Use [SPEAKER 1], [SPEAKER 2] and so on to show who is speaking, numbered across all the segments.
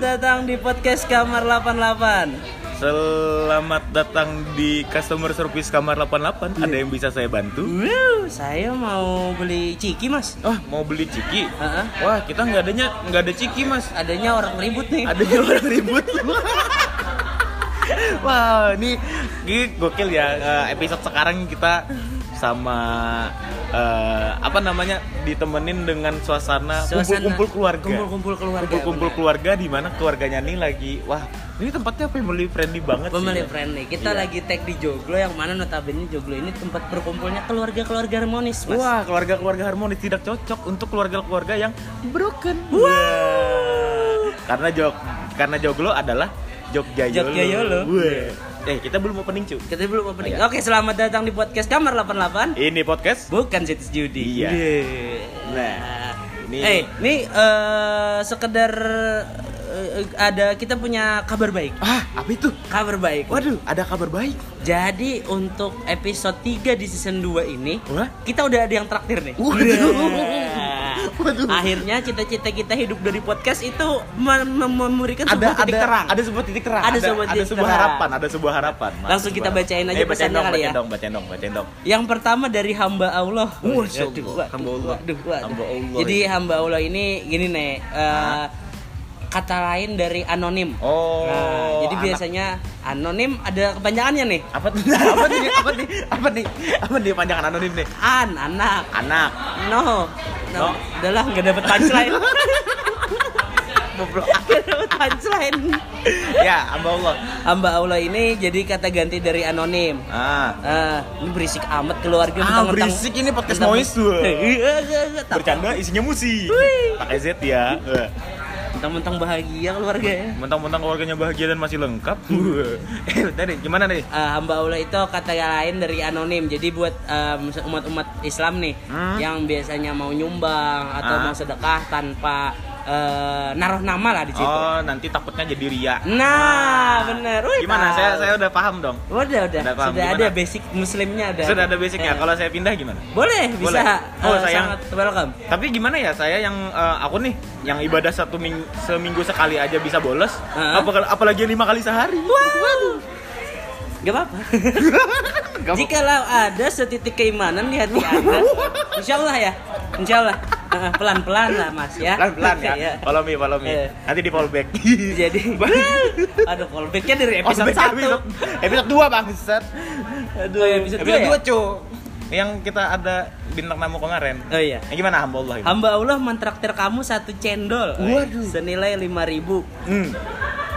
[SPEAKER 1] Waduh.
[SPEAKER 2] datang di podcast Kamar 88.
[SPEAKER 1] Selamat datang di customer service kamar 88. Ada yang bisa saya bantu?
[SPEAKER 2] Wuh, saya mau beli ciki, Mas.
[SPEAKER 1] Ah, mau beli ciki?
[SPEAKER 2] Heeh.
[SPEAKER 1] Wah, kita nggak adanya nggak ada ciki mas.
[SPEAKER 2] Adanya orang ribut nih.
[SPEAKER 1] Adanya orang ribut. Wah, ini ini gokil ya Eh, episode sekarang kita sama eh, apa namanya ditemenin dengan suasana
[SPEAKER 2] Suasana-
[SPEAKER 1] kumpul-kumpul keluarga.
[SPEAKER 2] Kumpul-kumpul keluarga,
[SPEAKER 1] Kumpul-kumpul keluarga di mana keluarganya nih lagi wah ini tempatnya family friendly banget sih.
[SPEAKER 2] Pembeli
[SPEAKER 1] ya. Iya.
[SPEAKER 2] friendly. Kita lagi tag di Joglo yang mana notabene Joglo ini tempat berkumpulnya keluarga-keluarga harmonis, Mas.
[SPEAKER 1] Wah, keluarga-keluarga harmonis tidak cocok untuk keluarga-keluarga yang broken. Iya. Karena jog karena joglo adalah Jogja Yolo.
[SPEAKER 2] Jogja Yolo.
[SPEAKER 1] Wah. Eh, kita belum opening, cu.
[SPEAKER 2] Kita belum
[SPEAKER 1] Iya.
[SPEAKER 2] opening. Oke, selamat datang di podcast Kamar 88.
[SPEAKER 1] Ini podcast.
[SPEAKER 2] Bukan situs judi.
[SPEAKER 1] Iya.
[SPEAKER 2] Yeah.
[SPEAKER 1] Nah, ini
[SPEAKER 2] Eh, ini eh, sekedar eh, ada kita punya kabar baik.
[SPEAKER 1] Ah, apa itu?
[SPEAKER 2] Kabar baik.
[SPEAKER 1] Waduh, ada kabar baik.
[SPEAKER 2] Jadi untuk episode 3 di season 2 ini,
[SPEAKER 1] Wah.
[SPEAKER 2] kita udah ada yang traktir nih.
[SPEAKER 1] Waduh.
[SPEAKER 2] Yeah.
[SPEAKER 1] Waduh.
[SPEAKER 2] Akhirnya cita-cita kita hidup dari podcast itu mem- mem- memberikan
[SPEAKER 1] Ada
[SPEAKER 2] sebuah titik
[SPEAKER 1] ada
[SPEAKER 2] terang.
[SPEAKER 1] ada sebuah titik terang.
[SPEAKER 2] Ada sebuah titik
[SPEAKER 1] sebuah
[SPEAKER 2] terang.
[SPEAKER 1] harapan, ada sebuah harapan. Mas.
[SPEAKER 2] Langsung kita
[SPEAKER 1] Sebuah-
[SPEAKER 2] bacain
[SPEAKER 1] eh,
[SPEAKER 2] aja
[SPEAKER 1] bacain
[SPEAKER 2] pesannya
[SPEAKER 1] dong,
[SPEAKER 2] kali ya.
[SPEAKER 1] bacain dong, bacain dong, bacain dong.
[SPEAKER 2] Yang pertama dari hamba Allah.
[SPEAKER 1] Wah,
[SPEAKER 2] Waduh,
[SPEAKER 1] ya Allah, hamba Allah.
[SPEAKER 2] waduh, waduh.
[SPEAKER 1] Hamba Allah
[SPEAKER 2] Jadi
[SPEAKER 1] ini.
[SPEAKER 2] hamba Allah ini gini nih, eh, kata lain dari anonim.
[SPEAKER 1] Oh.
[SPEAKER 2] Nah, jadi
[SPEAKER 1] anak-
[SPEAKER 2] biasanya anonim ada kepanjangannya nih.
[SPEAKER 1] apa tuh? apa nih? Apa nih? Apa nih? Apa nih panjangan anonim nih?
[SPEAKER 2] An, anak.
[SPEAKER 1] Anak.
[SPEAKER 2] No.
[SPEAKER 1] No.
[SPEAKER 2] No. Udah lah, nggak dapet punchline.
[SPEAKER 1] Goblok. Ah,
[SPEAKER 2] Nggak dapet punchline.
[SPEAKER 1] ya, hamba Allah.
[SPEAKER 2] Hamba Allah ini jadi kata ganti dari anonim.
[SPEAKER 1] Ah.
[SPEAKER 2] Eh, ini berisik amat keluarga Iya,
[SPEAKER 1] Ah, berisik ini podcast noise tuh. Bercanda isinya musik.
[SPEAKER 2] Wih.
[SPEAKER 1] Pakai Z ya. Eh,
[SPEAKER 2] Mentang-mentang bahagia keluarga ya.
[SPEAKER 1] Mentang-mentang keluarganya bahagia dan masih lengkap. eh, tadi gimana nih?
[SPEAKER 2] Eh, hamba Allah itu kata lain dari anonim. Jadi buat em, umat-umat Islam nih
[SPEAKER 1] Hmm.
[SPEAKER 2] yang biasanya mau nyumbang atau
[SPEAKER 1] Ah.
[SPEAKER 2] mau sedekah tanpa eh, naruh nama lah di situ.
[SPEAKER 1] Oh, nanti takutnya jadi ria.
[SPEAKER 2] Nah, bener. Wih,
[SPEAKER 1] Gimana?
[SPEAKER 2] tahu.
[SPEAKER 1] Saya saya udah paham dong.
[SPEAKER 2] Udah, udah.
[SPEAKER 1] Udah paham,
[SPEAKER 2] Sudah
[SPEAKER 1] gimana?
[SPEAKER 2] ada basic muslimnya ada.
[SPEAKER 1] Sudah ada basicnya.
[SPEAKER 2] Eh,
[SPEAKER 1] Kalau saya pindah gimana?
[SPEAKER 2] boleh, bisa.
[SPEAKER 1] Boleh. Oh,
[SPEAKER 2] Eh,
[SPEAKER 1] sayang.
[SPEAKER 2] sangat welcome.
[SPEAKER 1] Tapi gimana ya saya yang eh, aku nih yang ibadah satu minggu seminggu sekali aja bisa bolos,
[SPEAKER 2] Heeh.
[SPEAKER 1] apa- apalagi lima kali sehari.
[SPEAKER 2] Wow. Gak apa-apa. Jikalau ada setitik keimanan di hati Anda, insya Allah ya, insya Allah. Eh, Pelan-pelan lah mas ya.
[SPEAKER 1] Pelan-pelan
[SPEAKER 2] Iya.
[SPEAKER 1] ya. Follow me, follow me.
[SPEAKER 2] Iya.
[SPEAKER 1] Nanti di follow back.
[SPEAKER 2] Jadi, aduh callbacknya dari episode
[SPEAKER 1] Episode
[SPEAKER 2] 1
[SPEAKER 1] Oh, episode, iya, episode 2 bang Set. Aduh,
[SPEAKER 2] Oh, episode dua ya?
[SPEAKER 1] 2 cu Yang kita ada bintang tamu kemarin
[SPEAKER 2] Oh iya.
[SPEAKER 1] Yang gimana hamba Allah ini?
[SPEAKER 2] Hamba Allah mentraktir kamu satu cendol.
[SPEAKER 1] Waduh.
[SPEAKER 2] Senilai 5000
[SPEAKER 1] Hmm.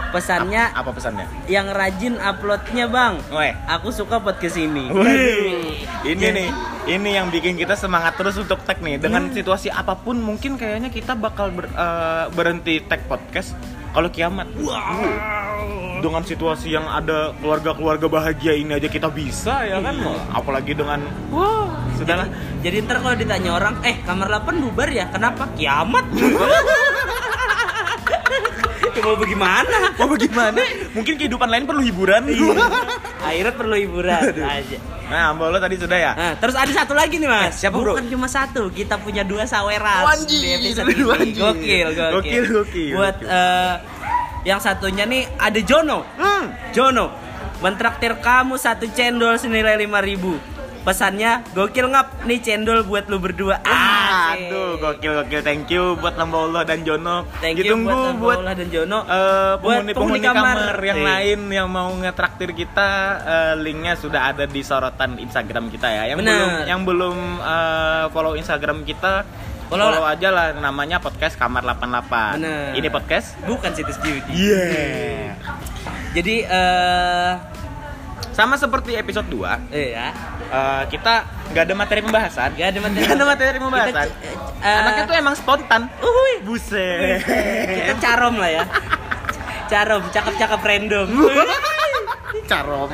[SPEAKER 2] Pesannya
[SPEAKER 1] Apa pesannya?
[SPEAKER 2] yang rajin uploadnya bang.
[SPEAKER 1] Weh
[SPEAKER 2] Aku suka podcast ini.
[SPEAKER 1] Wih, ini nih, ini yang bikin kita semangat terus untuk tag nih. Dengan situasi apapun, mungkin kayaknya kita bakal ber- eh, berhenti tag podcast kalau kiamat. Wow. Dengan situasi yang ada keluarga-keluarga bahagia ini aja kita bisa ya kan? Apalagi dengan wow,
[SPEAKER 2] Jadi,
[SPEAKER 1] sudahlah.
[SPEAKER 2] jadi ntar kalau ditanya orang, eh kamar 8 bubar ya, kenapa? Kiamat. Ya Mau bagaimana?
[SPEAKER 1] Mau bagaimana? Mungkin kehidupan lain perlu hiburan.
[SPEAKER 2] Akhirat perlu hiburan aja.
[SPEAKER 1] nah, Mbak Lo tadi sudah ya?
[SPEAKER 2] Nah, terus ada satu lagi nih mas.
[SPEAKER 1] Eh, siapa, bro?
[SPEAKER 2] Bukan cuma satu, kita punya dua saweran.
[SPEAKER 1] Wanji,
[SPEAKER 2] di episode
[SPEAKER 1] ada dua
[SPEAKER 2] ini.
[SPEAKER 1] anjing.
[SPEAKER 2] Gokil, gokil.
[SPEAKER 1] Gokil, gokil,
[SPEAKER 2] Buat
[SPEAKER 1] gokil.
[SPEAKER 2] eh, yang satunya nih ada Jono.
[SPEAKER 1] Hmm.
[SPEAKER 2] Jono, mentraktir kamu satu cendol senilai 5000 Pesannya gokil ngap, nih cendol buat lu berdua. Asik.
[SPEAKER 1] Aduh, gokil gokil. Thank you buat Mbak Allah dan Jono.
[SPEAKER 2] Thank you
[SPEAKER 1] Ditunggu
[SPEAKER 2] buat
[SPEAKER 1] Ya, buat
[SPEAKER 2] Paula dan Jono.
[SPEAKER 1] eh penghuni,
[SPEAKER 2] Buat penghuni
[SPEAKER 1] penghuni kamar, yang
[SPEAKER 2] Iya.
[SPEAKER 1] lain yang mau ngetraktir kita eh, linknya sudah ada di sorotan Instagram kita ya yang
[SPEAKER 2] Benar.
[SPEAKER 1] belum yang belum eh, follow Instagram kita
[SPEAKER 2] Follow
[SPEAKER 1] follow, aja lah namanya podcast kamar 88
[SPEAKER 2] Benar.
[SPEAKER 1] ini podcast
[SPEAKER 2] Bukan situs beauty.
[SPEAKER 1] Iya. yeah
[SPEAKER 2] Jadi eh
[SPEAKER 1] sama seperti episode 2
[SPEAKER 2] eh ya,
[SPEAKER 1] eh, kita nggak ada materi pembahasan
[SPEAKER 2] gak ada materi.
[SPEAKER 1] Nggak ada materi pembahasan
[SPEAKER 2] Kita, eh,
[SPEAKER 1] anaknya tuh emang spontan
[SPEAKER 2] uhuy.
[SPEAKER 1] buset
[SPEAKER 2] Kita carom lah ya. Carom, cakep-cakep random.
[SPEAKER 1] carom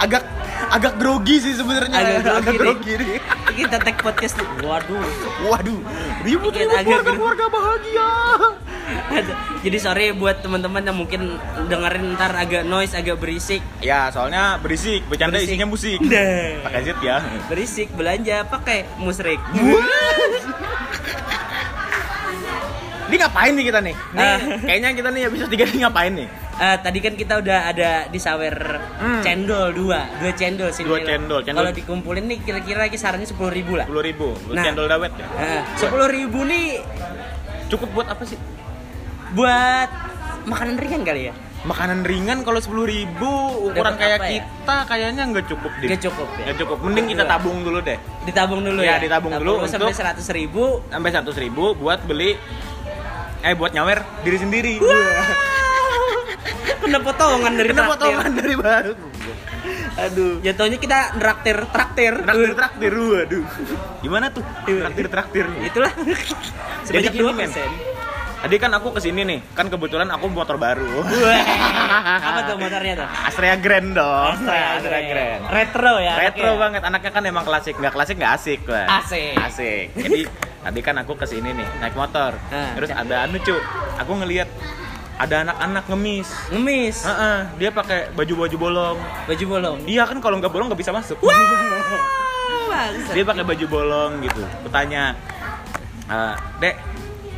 [SPEAKER 1] agak agak grogi sih sebenarnya
[SPEAKER 2] Agak grogi nih.
[SPEAKER 1] nih.
[SPEAKER 2] Kita tag podcast. Waduh.
[SPEAKER 1] Waduh, ribut ribut
[SPEAKER 2] Dikit agak
[SPEAKER 1] keluarga
[SPEAKER 2] ger-
[SPEAKER 1] keluarga bahagia.
[SPEAKER 2] Ada- Jadi sorry buat teman-teman yang mungkin dengerin ntar agak noise, agak berisik.
[SPEAKER 1] Ya, soalnya berisik, bercanda
[SPEAKER 2] Berisik.
[SPEAKER 1] isinya musik.
[SPEAKER 2] Nah.
[SPEAKER 1] Pakai Z ya.
[SPEAKER 2] Berisik belanja pakai musrik.
[SPEAKER 1] Ini ngapain nih kita nih? Nih,
[SPEAKER 2] Ah.
[SPEAKER 1] kayaknya kita nih bisa tiga nih ngapain nih?
[SPEAKER 2] Eh, tadi kan kita udah ada di sawer
[SPEAKER 1] Hmm.
[SPEAKER 2] cendol dua, dua cendol sih.
[SPEAKER 1] Dua
[SPEAKER 2] nilai.
[SPEAKER 1] cendol, cendol.
[SPEAKER 2] Kalau dikumpulin nih kira-kira kisarannya sepuluh ribu lah.
[SPEAKER 1] Sepuluh ribu,
[SPEAKER 2] Nah.
[SPEAKER 1] cendol dawet ya.
[SPEAKER 2] Sepuluh ribu nih
[SPEAKER 1] Cukup buat apa sih?
[SPEAKER 2] buat makanan ringan kali ya?
[SPEAKER 1] Makanan ringan kalau sepuluh ribu ukuran
[SPEAKER 2] Dapat
[SPEAKER 1] kayak
[SPEAKER 2] apa ya?
[SPEAKER 1] kita kayaknya nggak cukup deh.
[SPEAKER 2] Gak cukup ya?
[SPEAKER 1] Nggak cukup. Mending kita
[SPEAKER 2] Berdua.
[SPEAKER 1] tabung dulu deh.
[SPEAKER 2] Ditabung dulu ya?
[SPEAKER 1] Ya, ditabung dulu
[SPEAKER 2] sampai
[SPEAKER 1] untuk-
[SPEAKER 2] seratus ribu.
[SPEAKER 1] Sampai seratus ribu buat beli, eh buat nyawer diri sendiri. Iya.
[SPEAKER 2] Kena potongan dari
[SPEAKER 1] Kena
[SPEAKER 2] traktir.
[SPEAKER 1] potongan dari baru. Aduh.
[SPEAKER 2] Jatuhnya kita traktir, traktir.
[SPEAKER 1] Traktir traktir, waduh. Gimana tuh?
[SPEAKER 2] Iya.
[SPEAKER 1] Traktir traktir.
[SPEAKER 2] Eh, Itulah. Sebanyak
[SPEAKER 1] Jadi gini,
[SPEAKER 2] dua
[SPEAKER 1] men.
[SPEAKER 2] persen.
[SPEAKER 1] Tadi kan aku kesini nih, kan kebetulan aku motor baru.
[SPEAKER 2] Apa tuh motornya tuh?
[SPEAKER 1] Astrea Grand dong.
[SPEAKER 2] Retro ya.
[SPEAKER 1] Retro
[SPEAKER 2] anaknya.
[SPEAKER 1] banget, anaknya kan emang klasik, nggak klasik nggak asik lah.
[SPEAKER 2] Asik.
[SPEAKER 1] Asik. Jadi tadi kan aku kesini nih naik motor,
[SPEAKER 2] Ah.
[SPEAKER 1] terus ada anu cu, aku ngelihat ada anak-anak ngemis.
[SPEAKER 2] Ngemis.
[SPEAKER 1] Heeh, dia pakai baju-baju bolong.
[SPEAKER 2] Baju bolong.
[SPEAKER 1] Iya kan kalau nggak bolong nggak bisa masuk.
[SPEAKER 2] Bangsat.
[SPEAKER 1] dia pakai baju bolong gitu kutanya "Eh, dek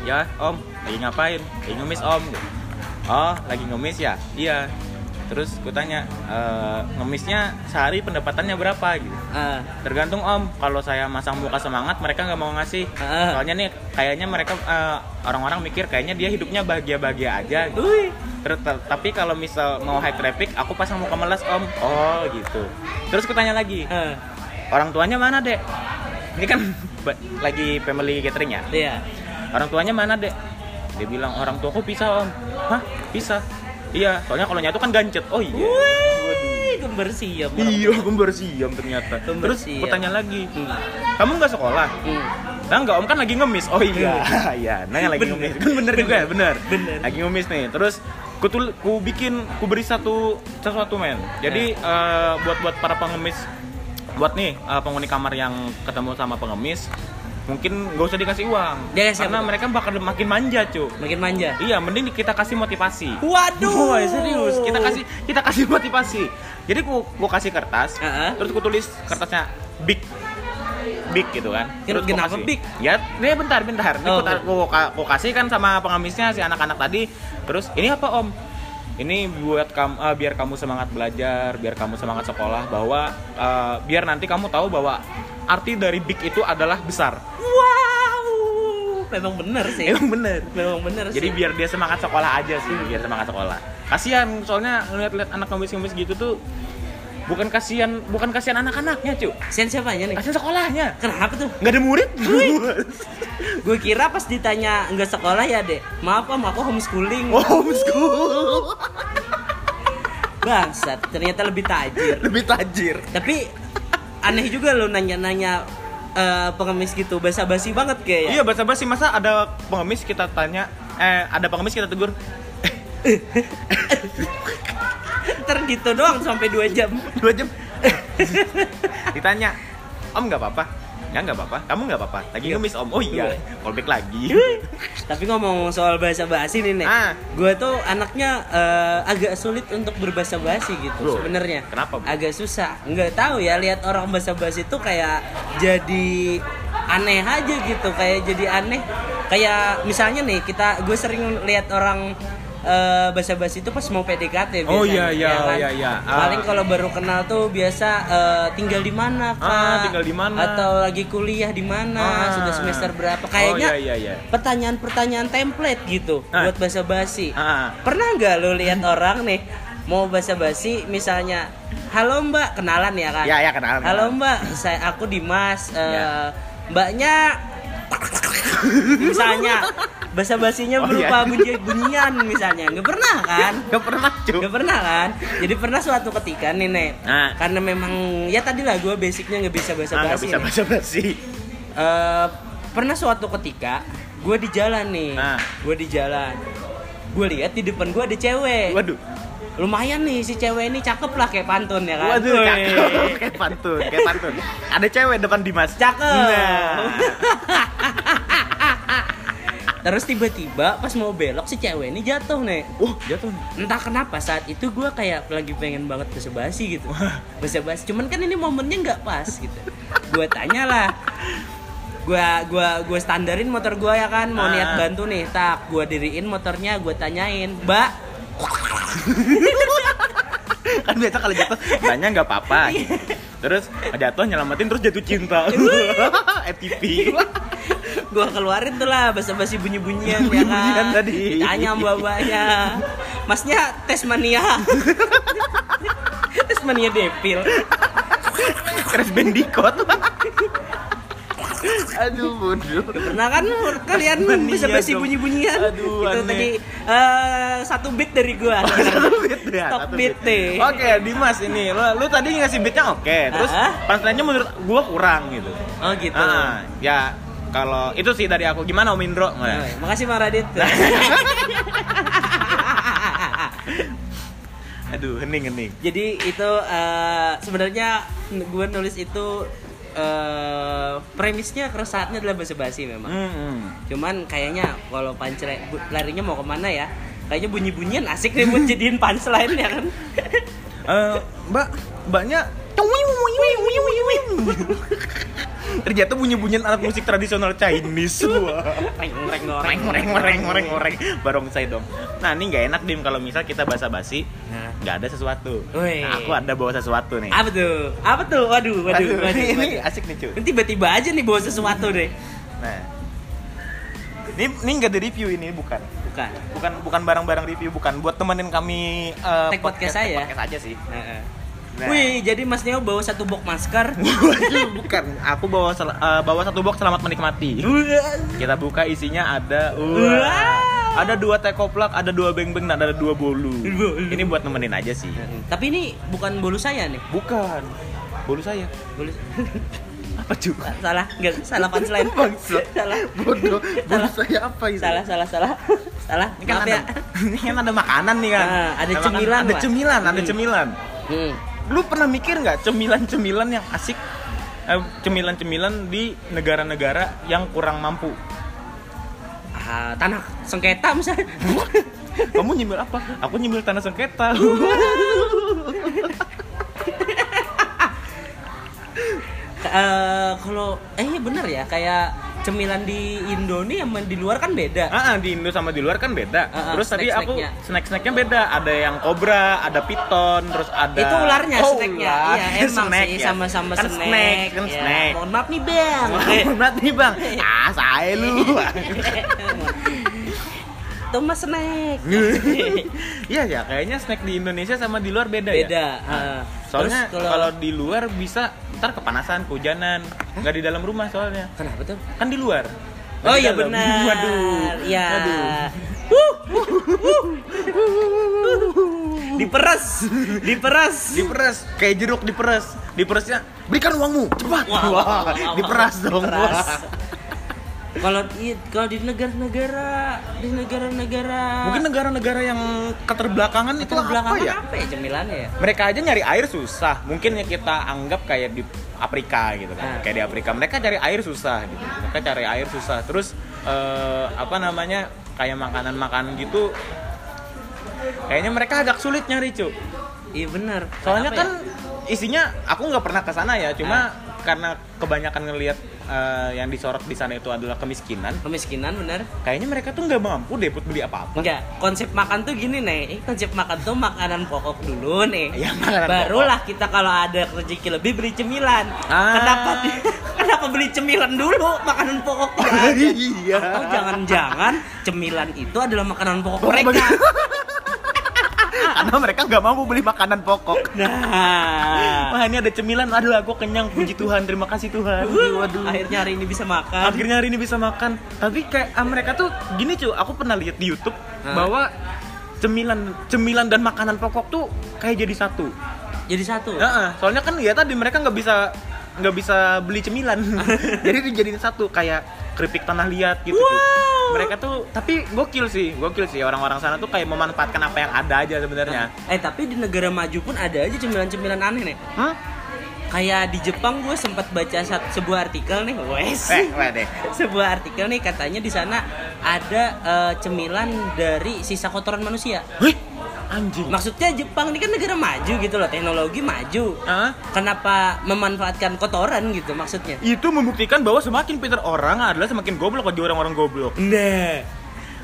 [SPEAKER 1] ya om lagi ngapain lagi ngemis om gitu. oh lagi ngemis ya iya terus kutanya "Eh, ngemisnya sehari pendapatannya berapa gitu
[SPEAKER 2] Ah,
[SPEAKER 1] tergantung om kalau saya masang muka semangat mereka nggak mau ngasih
[SPEAKER 2] Ah.
[SPEAKER 1] soalnya nih kayaknya mereka eh, orang-orang mikir kayaknya dia hidupnya bahagia-bahagia aja gitu.
[SPEAKER 2] Uy.
[SPEAKER 1] Ter- ter- tapi kalau misal mau high traffic aku pasang muka melas om oh gitu terus kutanya lagi
[SPEAKER 2] Ah,
[SPEAKER 1] orang tuanya mana dek ini kan ba- lagi family gathering ya
[SPEAKER 2] Iya.
[SPEAKER 1] orang tuanya mana dek dia bilang orang tuaku pisah om hah pisah iya soalnya kalau nyatu kan gancet oh iya
[SPEAKER 2] Wih, kembar siam.
[SPEAKER 1] iya kembar siam ternyata
[SPEAKER 2] Kembar
[SPEAKER 1] terus
[SPEAKER 2] siam.
[SPEAKER 1] aku tanya lagi
[SPEAKER 2] Hmm.
[SPEAKER 1] kamu nggak sekolah
[SPEAKER 2] Hmm.
[SPEAKER 1] Nah enggak, om kan lagi ngemis. Oh iya, iya. Nah yang lagi
[SPEAKER 2] Bener.
[SPEAKER 1] ngemis. Kan bener juga ya, bener.
[SPEAKER 2] Bener.
[SPEAKER 1] Lagi ngemis nih. Terus ku tul- ku bikin, ku beri satu sesuatu men.
[SPEAKER 2] Ya.
[SPEAKER 1] Jadi eh, buat buat para pengemis, buat nih eh, penghuni kamar yang ketemu sama pengemis, mungkin gak usah dikasih uang.
[SPEAKER 2] Ya, ya, siap,
[SPEAKER 1] karena
[SPEAKER 2] betul.
[SPEAKER 1] mereka bakal makin manja cu.
[SPEAKER 2] Makin manja.
[SPEAKER 1] Iya, mending kita kasih motivasi.
[SPEAKER 2] Waduh.
[SPEAKER 1] Woi, serius, kita kasih kita kasih motivasi. Jadi ku ku kasih kertas,
[SPEAKER 2] Heeh.
[SPEAKER 1] terus ku tulis kertasnya big big gitu kan.
[SPEAKER 2] Ken-
[SPEAKER 1] Terus ku
[SPEAKER 2] kenapa
[SPEAKER 1] kasih.
[SPEAKER 2] Iya, big?
[SPEAKER 1] Ya, ini bentar bentar. Ini
[SPEAKER 2] Oh,
[SPEAKER 1] ku, tar- ku- ka- ku kasih kan sama pengemisnya si anak-anak tadi. Terus ini apa Om? Ini buat kamu eh, biar kamu semangat belajar, biar kamu semangat sekolah bahwa eh, biar nanti kamu tahu bahwa arti dari big itu adalah besar.
[SPEAKER 2] Wow. Memang bener sih.
[SPEAKER 1] Emang bener.
[SPEAKER 2] Memang bener
[SPEAKER 1] Jadi
[SPEAKER 2] sih.
[SPEAKER 1] biar dia semangat sekolah aja sih, biar semangat sekolah. Kasihan soalnya ngeliat-liat anak ngemis-ngemis gitu tuh bukan kasihan, bukan kasihan anak-anaknya, cu.
[SPEAKER 2] Sen siapanya nih?
[SPEAKER 1] Kasihan sekolahnya.
[SPEAKER 2] Kenapa tuh?
[SPEAKER 1] Nggak ada murid.
[SPEAKER 2] Gue kira pas ditanya nggak sekolah ya dek. Maaf om, aku homeschooling.
[SPEAKER 1] oh, homeschool.
[SPEAKER 2] Bangsat, ternyata lebih tajir.
[SPEAKER 1] Lebih tajir.
[SPEAKER 2] Tapi aneh juga lo nanya-nanya eh, pengemis gitu, basa-basi banget kayak.
[SPEAKER 1] Iya, bahasa basi masa ada pengemis kita tanya, eh ada pengemis kita tegur.
[SPEAKER 2] Ntar gitu doang sampai 2 jam.
[SPEAKER 1] Dua jam. Ditanya, Om nggak apa-apa? Ya nggak apa-apa. Kamu nggak apa-apa? Lagi
[SPEAKER 2] Iya.
[SPEAKER 1] ngemis Om. Oh iya,
[SPEAKER 2] Iya.
[SPEAKER 1] callback lagi.
[SPEAKER 2] Tapi ngomong soal basa-basi nih nek,
[SPEAKER 1] Ah.
[SPEAKER 2] gue tuh anaknya eh, agak sulit untuk berbahasa basi gitu
[SPEAKER 1] Loh,
[SPEAKER 2] sebenarnya.
[SPEAKER 1] kenapa, Bu?
[SPEAKER 2] Agak susah. Nggak tahu ya lihat orang bahasa basi tuh kayak jadi aneh aja gitu, kayak jadi aneh. Kayak misalnya nih kita gue sering lihat orang eh, bahasa basi itu pas mau PDKT biasanya.
[SPEAKER 1] Oh, iya, iya,
[SPEAKER 2] ya kan?
[SPEAKER 1] iya, iya. Ah.
[SPEAKER 2] Paling kalau baru kenal tuh biasa eh, tinggal di mana, Kak?
[SPEAKER 1] Ah, tinggal di mana?
[SPEAKER 2] Atau lagi kuliah di mana?
[SPEAKER 1] Ah.
[SPEAKER 2] Sudah semester berapa? Kayaknya
[SPEAKER 1] Oh, iya, iya, iya.
[SPEAKER 2] pertanyaan-pertanyaan template gitu
[SPEAKER 1] Ah.
[SPEAKER 2] buat bahasa basi.
[SPEAKER 1] Ah.
[SPEAKER 2] Pernah nggak lo lihat orang nih mau bahasa basi misalnya Halo Mbak, kenalan ya kan?
[SPEAKER 1] Ya, ya, kenalan,
[SPEAKER 2] Halo
[SPEAKER 1] kenalan.
[SPEAKER 2] Mbak, saya aku Dimas. Eh,
[SPEAKER 1] Ya.
[SPEAKER 2] Mbaknya misalnya bahasa basinya
[SPEAKER 1] Oh,
[SPEAKER 2] berupa
[SPEAKER 1] iya.
[SPEAKER 2] bunyi bunyian misalnya. Nggak pernah kan?
[SPEAKER 1] Nggak pernah, cu.
[SPEAKER 2] Gak pernah kan? Jadi pernah suatu ketika nih Nek
[SPEAKER 1] Nah.
[SPEAKER 2] Karena memang ya tadi lah gue basicnya nggak bisa bahasa
[SPEAKER 1] Ah, nggak
[SPEAKER 2] basi
[SPEAKER 1] bisa
[SPEAKER 2] nih.
[SPEAKER 1] bahasa basi.
[SPEAKER 2] Eh, Pernah suatu ketika gue di jalan nih
[SPEAKER 1] Nah.
[SPEAKER 2] Gue di jalan Gue lihat di depan gue ada cewek
[SPEAKER 1] Waduh.
[SPEAKER 2] Lumayan nih si cewek ini cakep lah kayak pantun ya kan
[SPEAKER 1] Waduh,
[SPEAKER 2] Wih.
[SPEAKER 1] cakep. Kayak pantun, kayak pantun. Nah. Ada cewek depan Dimas.
[SPEAKER 2] Cakep
[SPEAKER 1] Nah.
[SPEAKER 2] Terus tiba-tiba pas mau belok si cewek ini jatuh nih.
[SPEAKER 1] Wah, jatuh nih.
[SPEAKER 2] Entah kenapa saat itu gue kayak lagi pengen banget basa basi gitu. Basa basi. Cuman kan ini momennya nggak pas gitu. Gue tanyalah. Gua gua gua standarin motor gua ya kan
[SPEAKER 1] Ah.
[SPEAKER 2] mau niat bantu nih. Tak, gua diriin motornya, gue tanyain, "Mbak,
[SPEAKER 1] kan biasa kalau jatuh nanya nggak apa-apa terus jatuh nyelamatin terus jatuh cinta FTP
[SPEAKER 2] gua keluarin tuh lah basa-basi bunyi-bunyian ya
[SPEAKER 1] Bunyi-bunyian
[SPEAKER 2] kan
[SPEAKER 1] tadi.
[SPEAKER 2] ditanya mbak-mbaknya masnya tes mania tes mania depil
[SPEAKER 1] Crash Bandicoot aduh bodoh
[SPEAKER 2] pernah kan kalian
[SPEAKER 1] Mania
[SPEAKER 2] basa-basi
[SPEAKER 1] dong.
[SPEAKER 2] bunyi-bunyian
[SPEAKER 1] Aduh,
[SPEAKER 2] itu
[SPEAKER 1] aneh.
[SPEAKER 2] tadi eh, satu beat dari gua
[SPEAKER 1] satu beat ya,
[SPEAKER 2] Stop
[SPEAKER 1] satu
[SPEAKER 2] beat deh.
[SPEAKER 1] Oke, Dimas ini, lo, lu tadi ngasih beatnya oke, terus
[SPEAKER 2] Ah.
[SPEAKER 1] punchline-nya menurut gua kurang gitu.
[SPEAKER 2] oh gitu
[SPEAKER 1] Ah, ya kalau itu sih dari aku gimana Om Indro?
[SPEAKER 2] Oh,
[SPEAKER 1] Nah.
[SPEAKER 2] makasih Bang Radit
[SPEAKER 1] Aduh, hening hening.
[SPEAKER 2] Jadi itu eh, sebenarnya gue nulis itu eh, premisnya keresahannya adalah basa-basi memang.
[SPEAKER 1] Hmm.
[SPEAKER 2] Cuman kayaknya kalau punchline bu- larinya mau kemana ya? Kayaknya bunyi-bunyian asik nih buat jadiin punchline ya kan?
[SPEAKER 1] Eh, Mbak, Mbaknya terjatuh bunyi-bunyian alat musik tradisional Chinese. Wah.
[SPEAKER 2] Reng reng
[SPEAKER 1] Oreng, oreng,
[SPEAKER 2] ngoreng
[SPEAKER 1] oreng, oreng, oreng. Barongsai dong. Nah, ini nggak enak dim kalau misal kita basa-basi,
[SPEAKER 2] Nah.
[SPEAKER 1] nggak ada sesuatu.
[SPEAKER 2] Wih.
[SPEAKER 1] Nah, aku ada bawa sesuatu nih.
[SPEAKER 2] Apa tuh? Apa tuh? Waduh, waduh,
[SPEAKER 1] Aduh,
[SPEAKER 2] waduh.
[SPEAKER 1] ini, ini
[SPEAKER 2] waduh.
[SPEAKER 1] asik nih cuy.
[SPEAKER 2] Ini tiba-tiba aja nih bawa sesuatu deh.
[SPEAKER 1] Nah, ini ini nggak di review ini bukan.
[SPEAKER 2] Bukan.
[SPEAKER 1] Bukan bukan barang-barang review bukan. Buat temenin kami eh,
[SPEAKER 2] Take podcast
[SPEAKER 1] take
[SPEAKER 2] saya.
[SPEAKER 1] podcast aja sih.
[SPEAKER 2] Heeh.
[SPEAKER 1] Nah.
[SPEAKER 2] Wih, jadi Mas Neo bawa satu box masker.
[SPEAKER 1] Waduh, bukan. Aku bawa sel- eh, bawa satu box selamat menikmati. Kita buka isinya ada wah,
[SPEAKER 2] Wow.
[SPEAKER 1] ada dua tekoplak, ada dua beng-beng, dan ada dua bolu.
[SPEAKER 2] Bolu.
[SPEAKER 1] Ini buat nemenin aja sih.
[SPEAKER 2] Tapi ini bukan bolu saya nih.
[SPEAKER 1] Bukan. Bolu saya.
[SPEAKER 2] Bolu
[SPEAKER 1] Apa juga?
[SPEAKER 2] salah, enggak salah punchline.
[SPEAKER 1] Bangsa.
[SPEAKER 2] salah.
[SPEAKER 1] Bodoh. Bolu
[SPEAKER 2] Salah.
[SPEAKER 1] saya apa itu?
[SPEAKER 2] Salah, salah, salah. Salah.
[SPEAKER 1] Ini kan
[SPEAKER 2] Maaf
[SPEAKER 1] ada,
[SPEAKER 2] ya.
[SPEAKER 1] ini kan ada makanan nih kan.
[SPEAKER 2] Ah, ada
[SPEAKER 1] makan-
[SPEAKER 2] cemilan,
[SPEAKER 1] Ada
[SPEAKER 2] Pak.
[SPEAKER 1] cemilan, ada
[SPEAKER 2] Hmm.
[SPEAKER 1] cemilan.
[SPEAKER 2] Hmm.
[SPEAKER 1] Lu pernah mikir nggak cemilan-cemilan yang asik? Eh, Cemilan-cemilan di negara-negara yang kurang mampu.
[SPEAKER 2] Ah, tanah sengketa Eh, misalnya.
[SPEAKER 1] Kamu nyemil apa? Aku nyemil tanah sengketa.
[SPEAKER 2] Eh, kalau eh bener ya kayak cemilan di Indonesia sama di luar kan beda.
[SPEAKER 1] Ah, ah, di Indo sama di luar kan beda.
[SPEAKER 2] Ah, ah,
[SPEAKER 1] terus tadi aku
[SPEAKER 2] snack-snacknya.
[SPEAKER 1] snack-snacknya beda. Ada yang kobra, ada piton, terus ada
[SPEAKER 2] Itu ularnya
[SPEAKER 1] Oh,
[SPEAKER 2] snacknya.
[SPEAKER 1] ular.
[SPEAKER 2] Iya, emang
[SPEAKER 1] Snack
[SPEAKER 2] sih
[SPEAKER 1] ya.
[SPEAKER 2] sama-sama
[SPEAKER 1] kan
[SPEAKER 2] snack.
[SPEAKER 1] kan
[SPEAKER 2] ya.
[SPEAKER 1] snack.
[SPEAKER 2] Mohon maaf nih, Bang.
[SPEAKER 1] Berat nih bang.
[SPEAKER 2] Iya.
[SPEAKER 1] Ah, saya lu.
[SPEAKER 2] Itu mah snack.
[SPEAKER 1] Iya ya, kayaknya snack di Indonesia sama di luar beda, ya.
[SPEAKER 2] beda. eh.
[SPEAKER 1] Soalnya
[SPEAKER 2] Terus
[SPEAKER 1] kalau di luar bisa ntar kepanasan, kehujanan, nggak di dalam rumah soalnya.
[SPEAKER 2] kenapa tuh?
[SPEAKER 1] Kan di luar. Nggak
[SPEAKER 2] Oh
[SPEAKER 1] di
[SPEAKER 2] iya
[SPEAKER 1] dalam.
[SPEAKER 2] benar.
[SPEAKER 1] Waduh.
[SPEAKER 2] Iya.
[SPEAKER 1] Waduh.
[SPEAKER 2] Wuh, wuh, wuh. Diperes, diperes.
[SPEAKER 1] Diperes, kayak jeruk diperes. Diperesnya, berikan uangmu, cepat.
[SPEAKER 2] Wah, wah, wah, wah, wah.
[SPEAKER 1] diperas dong.
[SPEAKER 2] Diperas.
[SPEAKER 1] wah.
[SPEAKER 2] Kalau di- kalau di negara-negara, di negara-negara
[SPEAKER 1] Mungkin negara-negara yang keterbelakangan itu apa
[SPEAKER 2] belakangan
[SPEAKER 1] ya?
[SPEAKER 2] apa ya cemilannya ya?
[SPEAKER 1] mereka aja nyari air susah mungkin ya kita anggap kayak di Afrika gitu kan
[SPEAKER 2] Ah.
[SPEAKER 1] kayak di Afrika mereka cari air susah gitu mereka cari air susah terus eh, apa namanya kayak makanan makanan gitu kayaknya mereka agak sulit nyari cu
[SPEAKER 2] Iya benar.
[SPEAKER 1] soalnya
[SPEAKER 2] Kenapa
[SPEAKER 1] kan
[SPEAKER 2] ya?
[SPEAKER 1] isinya aku nggak pernah ke sana ya cuma karena kebanyakan ngelihat eh, yang disorot di sana itu adalah kemiskinan
[SPEAKER 2] ya? kemiskinan benar.
[SPEAKER 1] kayaknya mereka tuh nggak mampu deh buat beli apa-apa
[SPEAKER 2] Enggak, konsep makan tuh gini nih. Konsep makan tuh makanan pokok dulu nih.
[SPEAKER 1] Iya, makanan
[SPEAKER 2] Barulah kita kalau ada rezeki lebih beli cemilan.
[SPEAKER 1] Ah.
[SPEAKER 2] Kenapa kenapa beli cemilan dulu makanan pokok tidak ada?
[SPEAKER 1] iya
[SPEAKER 2] Atau jangan-jangan cemilan itu adalah makanan pokok
[SPEAKER 1] Pokok
[SPEAKER 2] mereka.
[SPEAKER 1] mereka. karena mereka nggak mampu beli makanan pokok
[SPEAKER 2] Nah.
[SPEAKER 1] Wah ini ada cemilan, aduh aku kenyang, puji Tuhan, terima kasih Tuhan Waduh,
[SPEAKER 2] Akhirnya hari ini bisa makan.
[SPEAKER 1] Akhirnya hari ini bisa makan Tapi kayak ah, mereka tuh gini cuy, aku pernah lihat di Youtube
[SPEAKER 2] Hah?
[SPEAKER 1] Bahwa cemilan cemilan dan makanan pokok tuh kayak jadi satu
[SPEAKER 2] Jadi satu.
[SPEAKER 1] Heeh, Soalnya kan ya tadi mereka nggak bisa nggak bisa beli cemilan Jadi dijadiin satu, kayak keripik tanah liat gitu cuy. Mereka tuh, tapi gokil sih, gokil sih orang-orang sana tuh kayak memanfaatkan apa yang ada aja sebenarnya
[SPEAKER 2] Eh tapi di negara maju pun ada aja cemilan-cemilan aneh nih.
[SPEAKER 1] Hah?
[SPEAKER 2] Kayak di Jepang gue sempat baca sat- sebuah artikel nih, wes.
[SPEAKER 1] Eh, weh deh
[SPEAKER 2] sebuah artikel nih katanya di sana ada eh, cemilan dari sisa kotoran manusia.
[SPEAKER 1] Hih, anjing.
[SPEAKER 2] Maksudnya Jepang ini kan negara maju gitu loh, teknologi maju.
[SPEAKER 1] Hah?
[SPEAKER 2] Kenapa memanfaatkan kotoran gitu maksudnya?
[SPEAKER 1] Itu membuktikan bahwa semakin pintar orang adalah semakin goblok bagi orang-orang goblok.
[SPEAKER 2] Nah,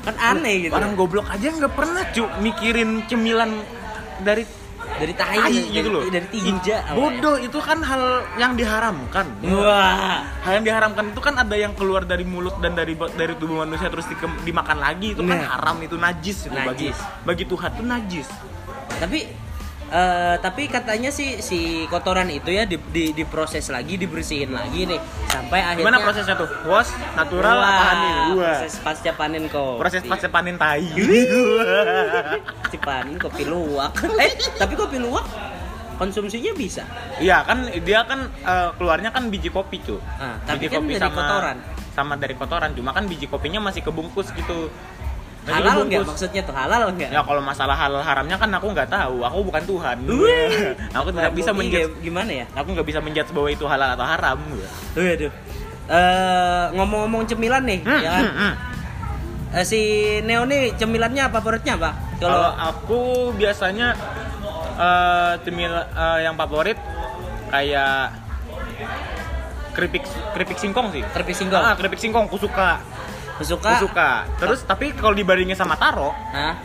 [SPEAKER 2] kan aneh gitu.
[SPEAKER 1] Orang goblok aja nggak pernah cu mikirin cemilan dari
[SPEAKER 2] dari tai,
[SPEAKER 1] tai
[SPEAKER 2] dari-
[SPEAKER 1] gitu loh.
[SPEAKER 2] dari tinja.
[SPEAKER 1] Ih,
[SPEAKER 2] awalnya. Oh,
[SPEAKER 1] Bodoh itu kan hal yang diharamkan.
[SPEAKER 2] Wah.
[SPEAKER 1] Hal yang diharamkan itu kan ada yang keluar dari mulut dan dari dari tubuh manusia terus dikem- dimakan lagi itu kan
[SPEAKER 2] Nah.
[SPEAKER 1] haram itu najis itu bagi
[SPEAKER 2] Najis.
[SPEAKER 1] bagi Tuhan itu najis.
[SPEAKER 2] tapi eh, tapi katanya sih si kotoran itu ya di, di- diproses lagi dibersihin lagi nih sampai akhirnya
[SPEAKER 1] Gimana prosesnya tuh? Was natural
[SPEAKER 2] Wah,
[SPEAKER 1] apa hanin? Wah.
[SPEAKER 2] proses pasca panen kok
[SPEAKER 1] Proses pas panen tai.
[SPEAKER 2] pasca panen kopi luwak eh tapi kopi luwak konsumsinya bisa
[SPEAKER 1] Iya kan dia kan eh, keluarnya kan biji kopi tuh.
[SPEAKER 2] Ah, tapi kan dari kotoran.
[SPEAKER 1] Sama dari kotoran, cuma kan biji kopinya masih kebungkus gitu. Masih
[SPEAKER 2] halal nggak
[SPEAKER 1] kebungkus.
[SPEAKER 2] maksudnya tuh halal nggak
[SPEAKER 1] Ya kalau masalah halal haramnya kan aku nggak tahu, aku bukan Tuhan.
[SPEAKER 2] Wih.
[SPEAKER 1] aku tidak bisa
[SPEAKER 2] Iya,
[SPEAKER 1] menjudge,
[SPEAKER 2] gimana ya
[SPEAKER 1] aku nggak bisa menjudge bahwa itu halal atau haram. gitu.
[SPEAKER 2] Waduh. Eh, ngomong-ngomong cemilan nih
[SPEAKER 1] Hmm,
[SPEAKER 2] ya kan?
[SPEAKER 1] hmm, hmm.
[SPEAKER 2] Eh, si Neo nih cemilannya favoritnya apa
[SPEAKER 1] Kalau
[SPEAKER 2] kalau
[SPEAKER 1] aku biasanya eh cemil eh, yang favorit kayak keripik keripik singkong sih.
[SPEAKER 2] terpising singkong
[SPEAKER 1] Ah, keripik singkong aku suka.
[SPEAKER 2] suka
[SPEAKER 1] Aku suka. Terus tapi kalau dibandingin sama taro,
[SPEAKER 2] Hah?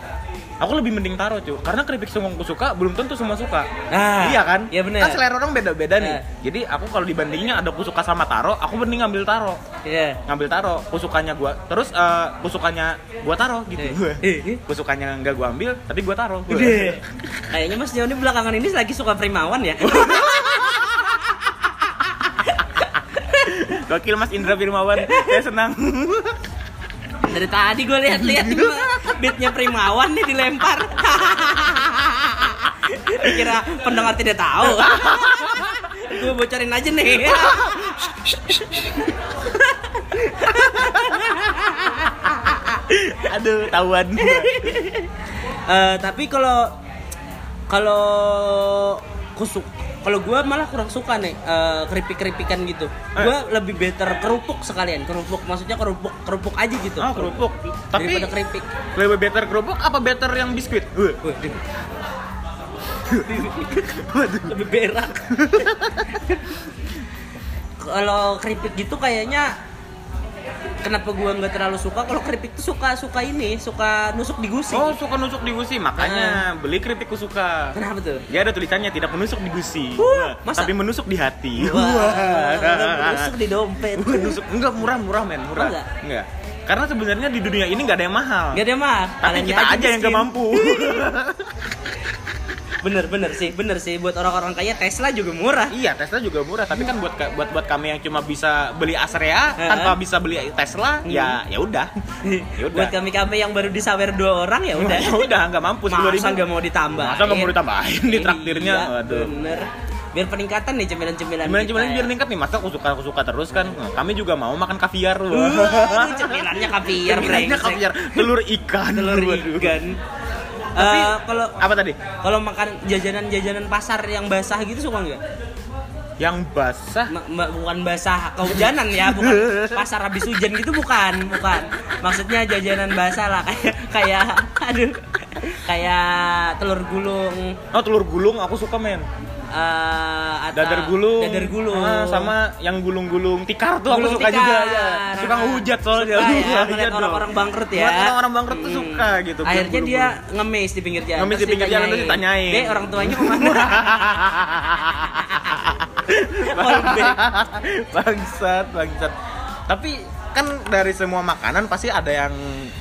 [SPEAKER 1] aku lebih mending taro cuy. Karena keripik singkong aku suka belum tentu semua suka.
[SPEAKER 2] Ah,
[SPEAKER 1] iya kan?
[SPEAKER 2] iya bener.
[SPEAKER 1] Kan selera orang beda-beda nih.
[SPEAKER 2] Eh.
[SPEAKER 1] Jadi aku kalau dibandingnya ada aku suka sama taro, aku mending ngambil taro.
[SPEAKER 2] Iya.
[SPEAKER 1] Ngambil taro, kusukannya gua. Terus eh, kusukannya gua taro gitu.
[SPEAKER 2] Eh, eh.
[SPEAKER 1] kusukannya nggak gua ambil, tapi gua taro.
[SPEAKER 2] Udah. Kayaknya Mas Joni belakangan ini lagi suka primawan ya.
[SPEAKER 1] Gokil Mas Indra Firmawan, saya senang.
[SPEAKER 2] Dari tadi gue lihat-lihat nih, beatnya primawan nih dilempar. Kira pendengar tidak tahu. gue bocorin aja nih.
[SPEAKER 1] Aduh, tahuan.
[SPEAKER 2] Eh, tapi kalau kalau kusuk kalau gue malah kurang suka nih eh, keripik-keripikan gitu. Gue lebih better kerupuk sekalian. Kerupuk maksudnya kerupuk kerupuk aja gitu.
[SPEAKER 1] Ah, kerupuk. Tapi
[SPEAKER 2] daripada keripik.
[SPEAKER 1] lebih better kerupuk apa better yang biskuit? Wah.
[SPEAKER 2] Waduh,
[SPEAKER 1] Waduh.
[SPEAKER 2] lebih berak. kalau keripik gitu kayaknya kenapa gua nggak terlalu suka kalau keripik tuh suka suka ini suka nusuk di gusi
[SPEAKER 1] Oh, suka nusuk di gusi, makanya
[SPEAKER 2] Ah.
[SPEAKER 1] beli keripik kusuka.
[SPEAKER 2] kenapa tuh
[SPEAKER 1] Dia ada tulisannya tidak menusuk di gusi,
[SPEAKER 2] Wah, masa?
[SPEAKER 1] tapi menusuk di hati.
[SPEAKER 2] wah nusuk di dompet
[SPEAKER 1] Wah, Iya. nusuk enggak murah-murah men, murah.
[SPEAKER 2] Oh, enggak?
[SPEAKER 1] Enggak. Karena sebenarnya di dunia ini nggak ada yang mahal.
[SPEAKER 2] Gak ada mah
[SPEAKER 1] Tapi
[SPEAKER 2] kalian
[SPEAKER 1] kita aja yang
[SPEAKER 2] miskin.
[SPEAKER 1] nggak mampu.
[SPEAKER 2] bener bener sih bener sih buat orang-orang kaya Tesla juga murah
[SPEAKER 1] iya, Tesla juga murah, tapi kan buat buat buat kami yang cuma bisa beli Astrea
[SPEAKER 2] Heeh. Hmm.
[SPEAKER 1] tanpa bisa beli Tesla, ya ya udah. Ya udah.
[SPEAKER 2] buat kami kami yang baru disawer dua orang ya udah
[SPEAKER 1] Ya udah, nggak mampu 10.000.
[SPEAKER 2] masa nggak mau Iya. ditambah
[SPEAKER 1] Masa nggak mau ditambahin di traktirnya? Aduh.
[SPEAKER 2] bener biar peningkatan nih cemilan-cemilan
[SPEAKER 1] Gimana
[SPEAKER 2] kita
[SPEAKER 1] gimana
[SPEAKER 2] ya.
[SPEAKER 1] biar ningkat nih, masa aku suka aku suka terus kan. Nah, Kami juga mau makan kaviar loh.
[SPEAKER 2] Waduh, cemilannya Uh, kaviar,
[SPEAKER 1] Cemilannya
[SPEAKER 2] brengsek.
[SPEAKER 1] kaviar, telur ikan,
[SPEAKER 2] Telur
[SPEAKER 1] waduh.
[SPEAKER 2] ikan.
[SPEAKER 1] Tapi-
[SPEAKER 2] Eh, kalau
[SPEAKER 1] Apa tadi?
[SPEAKER 2] kalau makan jajanan-jajanan pasar yang basah gitu suka nggak?
[SPEAKER 1] Yang basah.
[SPEAKER 2] Ma- ma- bukan basah kehujanan ya, bukan pasar habis hujan gitu bukan, bukan. Maksudnya jajanan basah lah kayak kayak aduh kayak telur gulung
[SPEAKER 1] Oh, telur gulung aku suka men.
[SPEAKER 2] eh, atau
[SPEAKER 1] Dadar gulung.
[SPEAKER 2] dadar gulung
[SPEAKER 1] Ah, sama yang gulung-gulung tikar tuh
[SPEAKER 2] Gulung
[SPEAKER 1] aku suka
[SPEAKER 2] tikar.
[SPEAKER 1] juga. ya. Suka
[SPEAKER 2] Nah,
[SPEAKER 1] ngehujat soalnya.
[SPEAKER 2] suka ya,
[SPEAKER 1] Ngehujat
[SPEAKER 2] ngeliat
[SPEAKER 1] dong. Iya,
[SPEAKER 2] orang-orang bangkrut ya.
[SPEAKER 1] Ngeliat orang-orang bangkrut tuh
[SPEAKER 2] Hmm.
[SPEAKER 1] suka gitu. beli
[SPEAKER 2] Akhirnya dia
[SPEAKER 1] gulung-gulung.
[SPEAKER 2] ngemis di pinggir jalan.
[SPEAKER 1] Ngemis di pinggir jalan, terus ditanyain.
[SPEAKER 2] Dek, orang tuanya kemana? Callback.
[SPEAKER 1] bangsat, bangsat. Tapi kan dari semua makanan pasti ada yang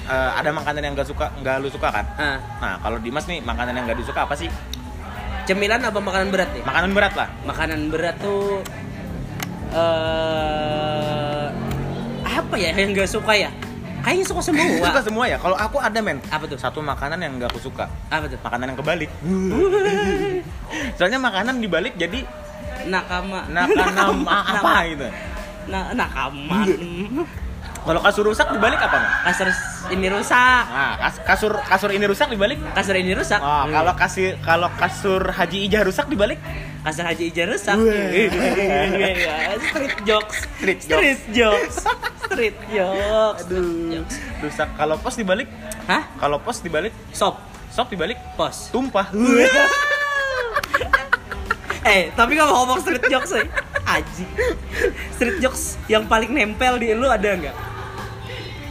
[SPEAKER 1] eh, ada makanan yang gak suka, nggak lu suka kan?
[SPEAKER 2] Ah,
[SPEAKER 1] Nah, kalau Dimas nih makanan yang gak disuka apa sih?
[SPEAKER 2] cemilan apa makanan berat nih?
[SPEAKER 1] Makanan berat lah.
[SPEAKER 2] Makanan berat tuh eh apa ya yang nggak suka ya? Kayaknya suka semua.
[SPEAKER 1] Suka semua ya. Kalau aku ada men.
[SPEAKER 2] Apa tuh?
[SPEAKER 1] Satu makanan yang gak aku suka.
[SPEAKER 2] Apa tuh?
[SPEAKER 1] Makanan yang kebalik. Soalnya makanan dibalik jadi
[SPEAKER 2] Nakama.
[SPEAKER 1] nakanam apa Iya. gitu.
[SPEAKER 2] Na- nakama.
[SPEAKER 1] Kalau kasur rusak dibalik apa? Mas?
[SPEAKER 2] Kasur ini rusak.
[SPEAKER 1] Nah, kas- kasur kasur ini rusak dibalik.
[SPEAKER 2] Kasur ini rusak.
[SPEAKER 1] Wah, kalau kasir kalau kasur Haji Ijah rusak dibalik
[SPEAKER 2] Kasar Haji Ija rusak.
[SPEAKER 1] Wah.
[SPEAKER 2] Iya, Street jokes.
[SPEAKER 1] Street jokes.
[SPEAKER 2] Street jokes. Street jokes.
[SPEAKER 1] Aduh.
[SPEAKER 2] jokes.
[SPEAKER 1] Rusak. Kalau pos dibalik,
[SPEAKER 2] Hah?
[SPEAKER 1] kalau pos dibalik,
[SPEAKER 2] Sop.
[SPEAKER 1] sop dibalik,
[SPEAKER 2] Pos.
[SPEAKER 1] tumpah.
[SPEAKER 2] eh, tapi kalau ngomong street jokes sih. Aji. Street jokes yang paling nempel di lu ada nggak?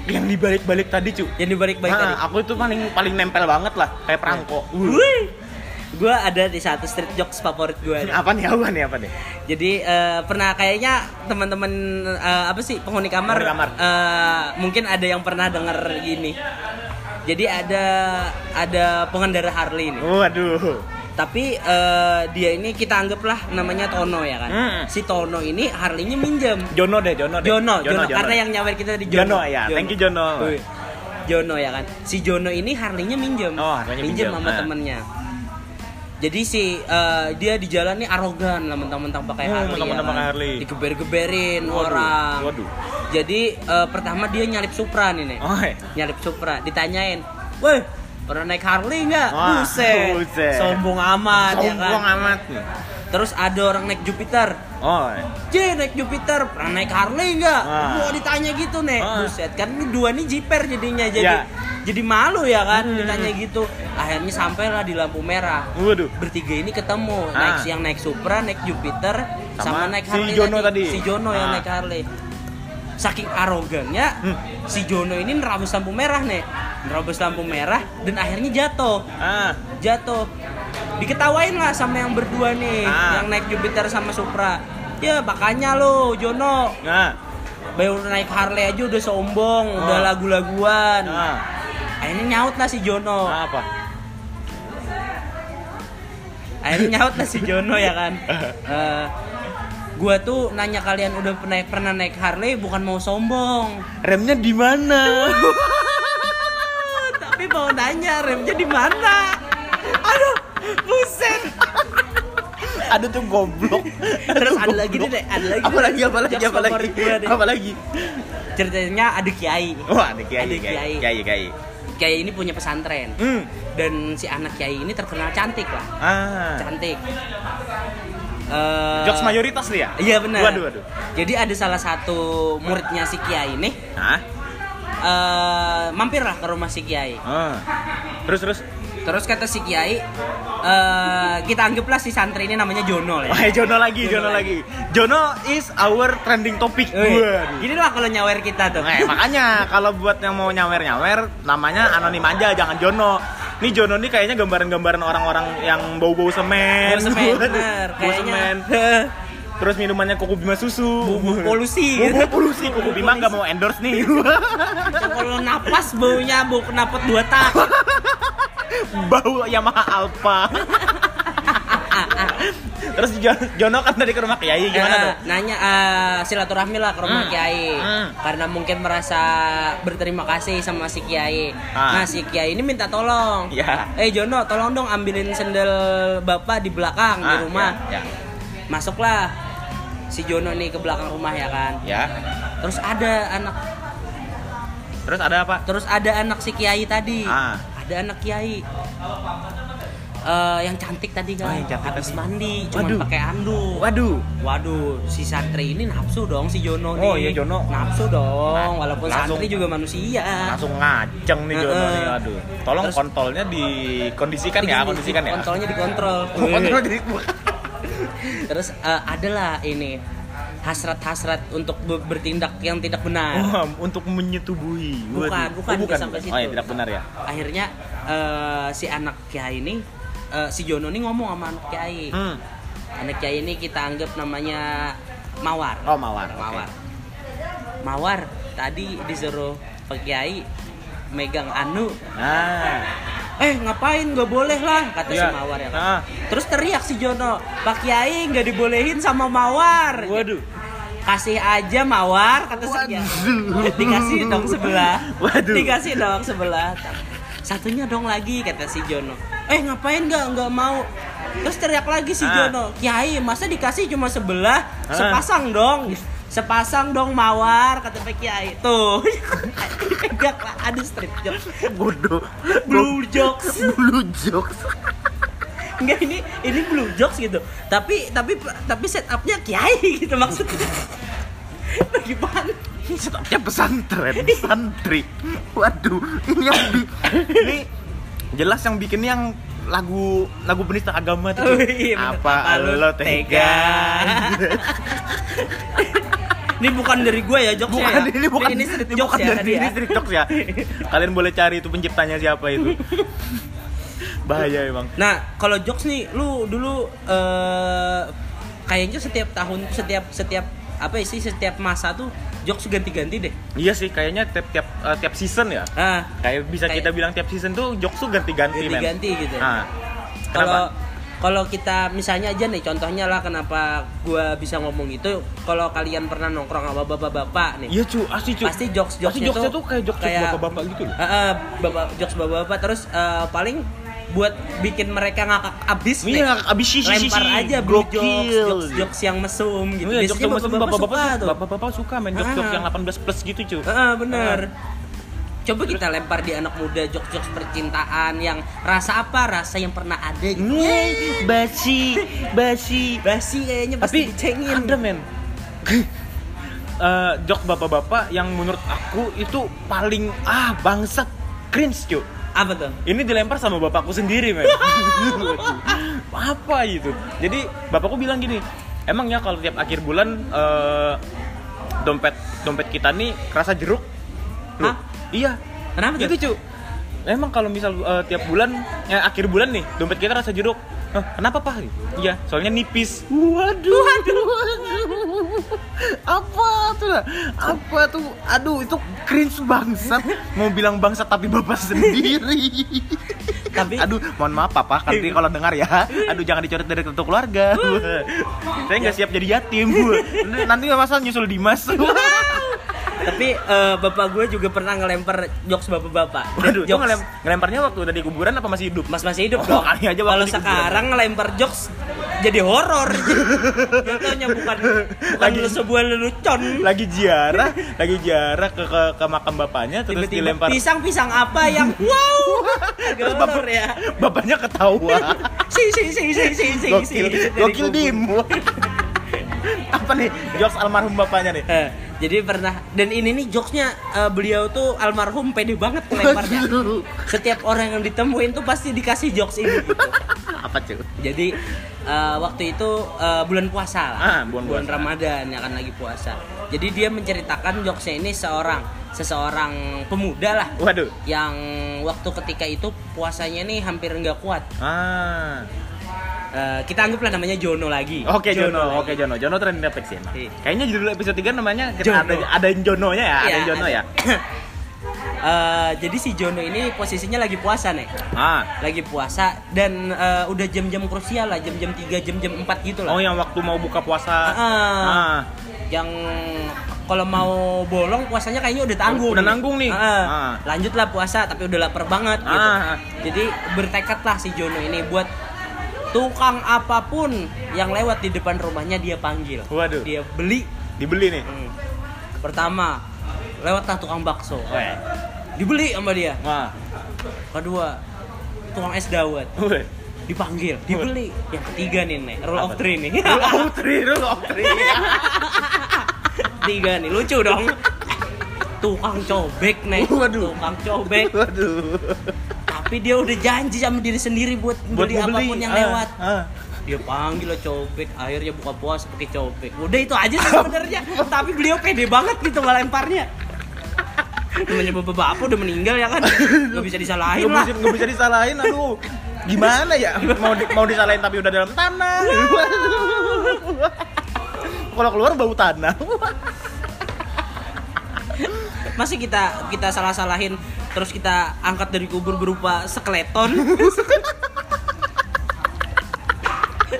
[SPEAKER 1] Yang dibalik-balik tadi, cu.
[SPEAKER 2] Yang dibalik-balik tadi.
[SPEAKER 1] Nah, aku itu paling paling nempel banget lah, kayak perangko. Uh.
[SPEAKER 2] Wih. Gua ada di satu street jokes favorit gua. ada.
[SPEAKER 1] Apa nih, apa nih, apa nih?
[SPEAKER 2] Jadi eh, pernah kayaknya teman-teman eh, apa sih penghuni kamar,
[SPEAKER 1] Penghuni kamar.
[SPEAKER 2] eh, mungkin ada yang pernah denger gini. Jadi ada ada pengendara Harley ini.
[SPEAKER 1] Waduh.
[SPEAKER 2] Tapi eh, dia ini kita anggaplah namanya Tono ya kan.
[SPEAKER 1] Hmm.
[SPEAKER 2] Si Tono ini Harley-nya minjem.
[SPEAKER 1] Jono deh, Jono deh.
[SPEAKER 2] Jono, Jono,
[SPEAKER 1] Jono.
[SPEAKER 2] karena yang nyawer kita di
[SPEAKER 1] Jono,
[SPEAKER 2] Jono.
[SPEAKER 1] ya. Thank you, Jono.
[SPEAKER 2] Wih. Jono ya kan. Si Jono ini Harley-nya minjem.
[SPEAKER 1] Oh, Harley-nya
[SPEAKER 2] minjem
[SPEAKER 1] minjem,
[SPEAKER 2] sama
[SPEAKER 1] ah.
[SPEAKER 2] temennya. Jadi si eh, dia di jalan nih arogan lah mentang-mentang pakai
[SPEAKER 1] Hmm,
[SPEAKER 2] Harley. ya kan.
[SPEAKER 1] mentang-mentang pakai Harley.
[SPEAKER 2] Digeber-geberin
[SPEAKER 1] Waduh,
[SPEAKER 2] orang.
[SPEAKER 1] waduh.
[SPEAKER 2] Jadi eh, pertama dia nyalip Supra nih nih.
[SPEAKER 1] Oh, eh.
[SPEAKER 2] Nyalip Supra, ditanyain, "Woi, pernah naik Harley nggak?"
[SPEAKER 1] Wah,
[SPEAKER 2] buset.
[SPEAKER 1] buset.
[SPEAKER 2] Sombong amat ya kan.
[SPEAKER 1] Sombong amat nih.
[SPEAKER 2] Terus ada orang naik Jupiter.
[SPEAKER 1] Oh, eh.
[SPEAKER 2] J naik Jupiter, pernah naik Harley nggak?
[SPEAKER 1] Ah.
[SPEAKER 2] Mau ditanya gitu nek,
[SPEAKER 1] Ah.
[SPEAKER 2] buset kan ini dua nih jiper jadinya
[SPEAKER 1] Ya.
[SPEAKER 2] jadi jadi malu ya kan
[SPEAKER 1] Hmm.
[SPEAKER 2] ditanya gitu. Akhirnya sampailah di lampu merah.
[SPEAKER 1] waduh.
[SPEAKER 2] Bertiga ini ketemu,
[SPEAKER 1] Ah.
[SPEAKER 2] naik yang naik Supra, naik Jupiter, sama,
[SPEAKER 1] Sama
[SPEAKER 2] naik
[SPEAKER 1] si
[SPEAKER 2] Harley
[SPEAKER 1] Jono tadi.
[SPEAKER 2] Si Jono yang
[SPEAKER 1] Ah.
[SPEAKER 2] naik Harley. Saking arogannya,
[SPEAKER 1] Hmm.
[SPEAKER 2] si Jono ini nerabas lampu merah nek, nerabas lampu merah dan akhirnya jatuh
[SPEAKER 1] Ah,
[SPEAKER 2] jatuh diketawain lah sama yang berdua nih
[SPEAKER 1] Ah.
[SPEAKER 2] yang naik Jupiter sama Supra ya makanya lo Jono
[SPEAKER 1] nah.
[SPEAKER 2] baru naik Harley aja udah sombong
[SPEAKER 1] Ah.
[SPEAKER 2] udah lagu-laguan
[SPEAKER 1] Nah,
[SPEAKER 2] akhirnya nyaut lah si Jono
[SPEAKER 1] apa?
[SPEAKER 2] akhirnya nyaut lah si Jono ya kan Eh, gua tuh nanya kalian udah pernah pernah naik Harley bukan mau sombong
[SPEAKER 1] Remnya di mana?
[SPEAKER 2] tapi mau nanya remnya di mana aduh buset
[SPEAKER 1] Aduh tuh goblok.
[SPEAKER 2] Terus ada lagi nih, Dek. Ada lagi.
[SPEAKER 1] Apa lagi? Apa lagi?
[SPEAKER 2] Jokes
[SPEAKER 1] Apa lagi?
[SPEAKER 2] favorit gua, Dek.
[SPEAKER 1] Apa lagi?
[SPEAKER 2] ceritanya ada kiai
[SPEAKER 1] Wah, ada kiai,
[SPEAKER 2] Ada kiai.
[SPEAKER 1] kiai, kiai, kiai.
[SPEAKER 2] kiai ini punya pesantren
[SPEAKER 1] Hmm.
[SPEAKER 2] dan si anak kiai ini terkenal cantik lah
[SPEAKER 1] Ah.
[SPEAKER 2] cantik Eh,
[SPEAKER 1] Jokes mayoritas dia.
[SPEAKER 2] iya benar
[SPEAKER 1] Waduh, waduh.
[SPEAKER 2] jadi ada salah satu muridnya si kiai nih
[SPEAKER 1] Hah?
[SPEAKER 2] eh, mampirlah ke rumah si kiai
[SPEAKER 1] Ah. Terus terus.
[SPEAKER 2] terus kata si kiai eh, kita anggaplah si santri ini namanya Jono
[SPEAKER 1] Wah,
[SPEAKER 2] ya
[SPEAKER 1] Jono lagi, Jono,
[SPEAKER 2] Jono
[SPEAKER 1] lagi. Jono is our trending topic.
[SPEAKER 2] Wih,
[SPEAKER 1] Waduh.
[SPEAKER 2] gini lah kalau nyawer kita tuh
[SPEAKER 1] Eh, makanya kalau buat yang mau nyawer-nyawer namanya anonim aja jangan Jono. Nih Jono nih kayaknya gambaran-gambaran orang-orang yang bau-bau semen.
[SPEAKER 2] Bau semen,
[SPEAKER 1] Waduh,
[SPEAKER 2] bener.
[SPEAKER 1] bau semen.
[SPEAKER 2] Kayaknya
[SPEAKER 1] Terus minumannya kuku bima susu.
[SPEAKER 2] Bubuk polusi.
[SPEAKER 1] Bubuk polusi. Kuku bima nggak mau endorse nih.
[SPEAKER 2] kalau napas baunya bau kenapot dua tak.
[SPEAKER 1] Bau Yamaha Alfa. Terus Jo- Jono kan tadi ke rumah Kiai gimana
[SPEAKER 2] Eh,
[SPEAKER 1] tuh?
[SPEAKER 2] Nanya eh, silaturahmi lah ke rumah
[SPEAKER 1] Hmm.
[SPEAKER 2] Kiai
[SPEAKER 1] Hmm.
[SPEAKER 2] karena mungkin merasa berterima kasih sama si Kiai.
[SPEAKER 1] Ah.
[SPEAKER 2] Nah si Kiai ini minta tolong.
[SPEAKER 1] Ya.
[SPEAKER 2] Eh Jono, tolong dong ambilin sendal bapak di belakang di
[SPEAKER 1] Ah,
[SPEAKER 2] rumah.
[SPEAKER 1] Ya.
[SPEAKER 2] Masuklah si Jono nih ke belakang rumah ya kan.
[SPEAKER 1] ya.
[SPEAKER 2] Terus ada anak,
[SPEAKER 1] Terus ada apa?
[SPEAKER 2] terus ada anak si Kiai tadi.
[SPEAKER 1] Ah.
[SPEAKER 2] Ada anak Kiai. Eh, yang cantik tadi
[SPEAKER 1] Oh,
[SPEAKER 2] kan,
[SPEAKER 1] yang cantik
[SPEAKER 2] habis
[SPEAKER 1] tadi.
[SPEAKER 2] mandi, cuma
[SPEAKER 1] Waduh.
[SPEAKER 2] pakai anduk.
[SPEAKER 1] Waduh.
[SPEAKER 2] Waduh, si santri ini nafsu dong si Jono nih.
[SPEAKER 1] Oh, iya, Jono.
[SPEAKER 2] Nafsu dong,
[SPEAKER 1] Nah,
[SPEAKER 2] walaupun
[SPEAKER 1] langsung-
[SPEAKER 2] santri juga manusia.
[SPEAKER 1] langsung ngaceng nih Jono
[SPEAKER 2] Heeh.
[SPEAKER 1] nih aduh tolong
[SPEAKER 2] Terus-
[SPEAKER 1] kontolnya dikondisikan ya
[SPEAKER 2] Digini,
[SPEAKER 1] kondisikan ya
[SPEAKER 2] Kontrolnya dikontrol.
[SPEAKER 1] Oh, kontrol jadi
[SPEAKER 2] Terus eh, adalah ini hasrat-hasrat untuk be- bertindak yang tidak benar.
[SPEAKER 1] Wah, untuk menyetubuhi
[SPEAKER 2] Nah. Bukan,
[SPEAKER 1] Waduh.
[SPEAKER 2] bukan,
[SPEAKER 1] Oh, bukan
[SPEAKER 2] sampai
[SPEAKER 1] bukan. oh ya
[SPEAKER 2] situ.
[SPEAKER 1] tidak benar ya
[SPEAKER 2] Akhirnya eh, si anak kiai ini eh, si Jono ini ngomong sama anak kiai.
[SPEAKER 1] hmm.
[SPEAKER 2] Anak kiai ini kita anggap namanya Mawar.
[SPEAKER 1] oh mawar oke.
[SPEAKER 2] Mawar. Mawar tadi disuruh Pak Kiai megang anu.
[SPEAKER 1] nah
[SPEAKER 2] Eh ngapain gak boleh lah kata
[SPEAKER 1] Iya.
[SPEAKER 2] si Mawar ya. kan.
[SPEAKER 1] Ah.
[SPEAKER 2] Terus teriak si Jono, Pak Kiai nggak dibolehin sama Mawar.
[SPEAKER 1] waduh
[SPEAKER 2] Kasih aja Mawar kata si Kiai. "Eh, Dikasih dong sebelah.
[SPEAKER 1] Waduh.
[SPEAKER 2] Dikasih dong sebelah. Satunya dong lagi kata si Jono. Eh ngapain nggak nggak mau. Terus teriak lagi si
[SPEAKER 1] Ah.
[SPEAKER 2] Jono, Kiai masa dikasih cuma sebelah,
[SPEAKER 1] Ah.
[SPEAKER 2] sepasang dong. Sepasang dong mawar kata Pak Kiai. Tuh. Dipegang lah, ada strip jokes.
[SPEAKER 1] bodoh
[SPEAKER 2] Blue jokes.
[SPEAKER 1] blue jokes
[SPEAKER 2] Enggak ini ini blue jokes gitu. Tapi tapi tapi setupnya kiai gitu maksudnya. Bagaimana?
[SPEAKER 1] Stopnya pesantren, santri. Waduh, ini yang bi- ini jelas yang bikin yang lagu lagu penista agama tuh.
[SPEAKER 2] Oh, iya, bener.
[SPEAKER 1] Apa lo tega?
[SPEAKER 2] ini bukan dari gue ya jokes
[SPEAKER 1] Bukan
[SPEAKER 2] ya.
[SPEAKER 1] ini bukan
[SPEAKER 2] ini street
[SPEAKER 1] ini
[SPEAKER 2] jokes
[SPEAKER 1] bukan
[SPEAKER 2] ya
[SPEAKER 1] dari
[SPEAKER 2] tadi
[SPEAKER 1] ini
[SPEAKER 2] ya.
[SPEAKER 1] street jokes ya. Kalian boleh cari itu penciptanya siapa itu. Bahaya emang.
[SPEAKER 2] Nah, kalau jokes nih, lu dulu eh kayaknya setiap tahun, setiap setiap apa sih, setiap masa tuh jokes ganti-ganti deh.
[SPEAKER 1] Iya sih, kayaknya tiap tiap eh, tiap season ya.
[SPEAKER 2] Ah,
[SPEAKER 1] Kayak bisa
[SPEAKER 2] Kayak-
[SPEAKER 1] kita bilang tiap season tuh jokes tuh ganti-ganti men.
[SPEAKER 2] ganti-ganti gitu.
[SPEAKER 1] Nah,
[SPEAKER 2] Kalau
[SPEAKER 1] kenapa?
[SPEAKER 2] kalau kita misalnya aja nih, contohnya lah kenapa gua bisa ngomong itu, kalau kalian pernah nongkrong sama bapak-bapak nih.
[SPEAKER 1] Iya cu, asli cu.
[SPEAKER 2] Pasti jokes-jokesnya
[SPEAKER 1] Pasti jokesnya
[SPEAKER 2] tuh
[SPEAKER 1] tuh kayak jokes
[SPEAKER 2] kayak-
[SPEAKER 1] bapak-bapak gitu loh.
[SPEAKER 2] Eh, eh, bapak jokes bapak-bapak terus eh, paling buat bikin mereka ngakak abis deh.
[SPEAKER 1] Iya, abis sih sih
[SPEAKER 2] lempar aja bro jokes, jokes, jokes yang mesum gitu.
[SPEAKER 1] Iya, jokes
[SPEAKER 2] Biasanya
[SPEAKER 1] bapak bapak
[SPEAKER 2] bapak-bapak
[SPEAKER 1] bapak
[SPEAKER 2] suka
[SPEAKER 1] tuh.
[SPEAKER 2] tuh.
[SPEAKER 1] Bapak bapak suka main jokes jokes
[SPEAKER 2] Ah.
[SPEAKER 1] yang 18 plus gitu cu.
[SPEAKER 2] Heeh, bener. Coba kita lempar di anak muda jokes-jokes percintaan yang rasa apa? Rasa yang pernah ada
[SPEAKER 1] Hmm.
[SPEAKER 2] gitu.
[SPEAKER 1] Nih, basi, basi.
[SPEAKER 2] Basi kayaknya pasti
[SPEAKER 1] Tapi
[SPEAKER 2] dicengin.
[SPEAKER 1] ada men. Eh, jokes bapak-bapak yang menurut aku itu paling ah bangsat cringe cu.
[SPEAKER 2] Apa tuh?
[SPEAKER 1] Ini dilempar sama bapakku sendiri, men. Apa itu? Jadi bapakku bilang gini, emang ya kalau tiap akhir bulan eh, dompet dompet kita nih kerasa jeruk. Loh,
[SPEAKER 2] Hah?
[SPEAKER 1] Iya.
[SPEAKER 2] Kenapa tuh?
[SPEAKER 1] Gitu, cu. Emang kalau misal eh, tiap bulan, eh, akhir bulan nih, dompet kita rasa jeruk. "Hah, kenapa, Pak? Iya, soalnya nipis. Waduh. Apa tuh? lah? Apa tuh? Aduh, itu cringe bangsat. Mau bilang bangsat tapi bapak sendiri.
[SPEAKER 2] Tapi-
[SPEAKER 1] aduh, mohon maaf papa, nanti kalau dengar ya. Aduh, jangan dicoret dari kartu keluarga. Saya nggak siap jadi yatim. Nanti masalah nyusul Dimas.
[SPEAKER 2] Tapi eh, bapak gue juga pernah ngelempar jokes bapak-bapak.
[SPEAKER 1] Waduh, itu
[SPEAKER 2] Jokes-
[SPEAKER 1] ngelem- ngelemparnya waktu udah di kuburan apa masih hidup?
[SPEAKER 2] Mas masih hidup
[SPEAKER 1] Oh,
[SPEAKER 2] dong.
[SPEAKER 1] kali aja waktu
[SPEAKER 2] Kalau
[SPEAKER 1] di kuburan.
[SPEAKER 2] sekarang ngelempar jokes jadi horor. Jatuhnya bukan bukan
[SPEAKER 1] Lagi-
[SPEAKER 2] lu sebuah lelucon.
[SPEAKER 1] lagi ziarah, lagi ziarah ke, ke ke makam bapaknya terus
[SPEAKER 2] Tiba-tiba
[SPEAKER 1] dilempar.
[SPEAKER 2] pisang-pisang apa yang wow. Agak
[SPEAKER 1] Terus
[SPEAKER 2] horor ya.
[SPEAKER 1] Bapaknya ketawa.
[SPEAKER 2] Si si si si si si si.
[SPEAKER 1] Gokil,
[SPEAKER 2] Dari
[SPEAKER 1] gokil
[SPEAKER 2] kubur.
[SPEAKER 1] dim. Apa nih jokes almarhum bapaknya nih?
[SPEAKER 2] Eh, jadi pernah dan ini nih jokesnya eh, beliau tuh almarhum pede banget ngelemparnya. Setiap orang yang ditemuin tuh pasti dikasih jokes ini. gitu.
[SPEAKER 1] Apa cuy?
[SPEAKER 2] Jadi eh, waktu itu eh, bulan puasa lah.
[SPEAKER 1] Ah, bulan puasa.
[SPEAKER 2] Ramadan ya kan lagi puasa. Jadi dia menceritakan jokesnya ini seorang seseorang pemuda lah
[SPEAKER 1] Waduh.
[SPEAKER 2] yang waktu ketika itu puasanya nih hampir nggak kuat.
[SPEAKER 1] Ah.
[SPEAKER 2] Eh, kita anggaplah namanya Jono lagi.
[SPEAKER 1] Oke
[SPEAKER 2] lagi.
[SPEAKER 1] Jono, oke Jono. Jono trending Netflix ya. emang.
[SPEAKER 2] Iya.
[SPEAKER 1] Kayaknya judul episode 3 namanya
[SPEAKER 2] Jono.
[SPEAKER 1] kita ada ada Jononya ya, ada
[SPEAKER 2] Iya,
[SPEAKER 1] Jono
[SPEAKER 2] ada.
[SPEAKER 1] ya.
[SPEAKER 2] Eh, jadi si Jono ini posisinya lagi puasa nih.
[SPEAKER 1] Ah.
[SPEAKER 2] Lagi puasa dan eh, udah jam-jam krusial lah, jam-jam 3, jam-jam 4 gitu lah.
[SPEAKER 1] Oh yang waktu mau buka puasa.
[SPEAKER 2] Ah.
[SPEAKER 1] Ah.
[SPEAKER 2] yang kalau mau bolong puasanya kayaknya udah tanggung
[SPEAKER 1] Udah nanggung nih.
[SPEAKER 2] Heeh.
[SPEAKER 1] Ah.
[SPEAKER 2] lanjutlah puasa tapi udah lapar banget gitu
[SPEAKER 1] Ah.
[SPEAKER 2] jadi bertekadlah si Jono ini buat tukang apapun yang lewat di depan rumahnya dia panggil
[SPEAKER 1] Waduh.
[SPEAKER 2] dia beli
[SPEAKER 1] Dibeli nih.
[SPEAKER 2] Hmm. pertama lewatlah tukang bakso
[SPEAKER 1] Weh.
[SPEAKER 2] dibeli sama dia
[SPEAKER 1] Wah.
[SPEAKER 2] kedua tukang es dawet
[SPEAKER 1] Weh.
[SPEAKER 2] dipanggil dibeli yang ketiga nih nih rule of
[SPEAKER 1] Apa?
[SPEAKER 2] three nih
[SPEAKER 1] Rule of three, rule of three.
[SPEAKER 2] tiga nih lucu dong tukang cobek nih
[SPEAKER 1] Waduh.
[SPEAKER 2] tukang cobek
[SPEAKER 1] Waduh.
[SPEAKER 2] tapi dia udah janji sama diri sendiri buat
[SPEAKER 1] Buat
[SPEAKER 2] beli
[SPEAKER 1] mau beli,
[SPEAKER 2] apapun yang
[SPEAKER 1] ah,
[SPEAKER 2] lewat
[SPEAKER 1] ah.
[SPEAKER 2] dia panggil lah cobek akhirnya buka puasa pakai cobek udah itu aja sih sebenarnya tapi beliau pede banget gitu ngelemparnya namanya bapak bapak udah meninggal ya kan nggak bisa disalahin
[SPEAKER 1] Nggak
[SPEAKER 2] lah
[SPEAKER 1] bisa, nggak bisa disalahin, aduh. Gimana ya? Mau di- mau disalahin tapi udah dalam tanah. Kalau keluar bau tanah.
[SPEAKER 2] masih kita kita salah salahin terus kita angkat dari kubur berupa skeleton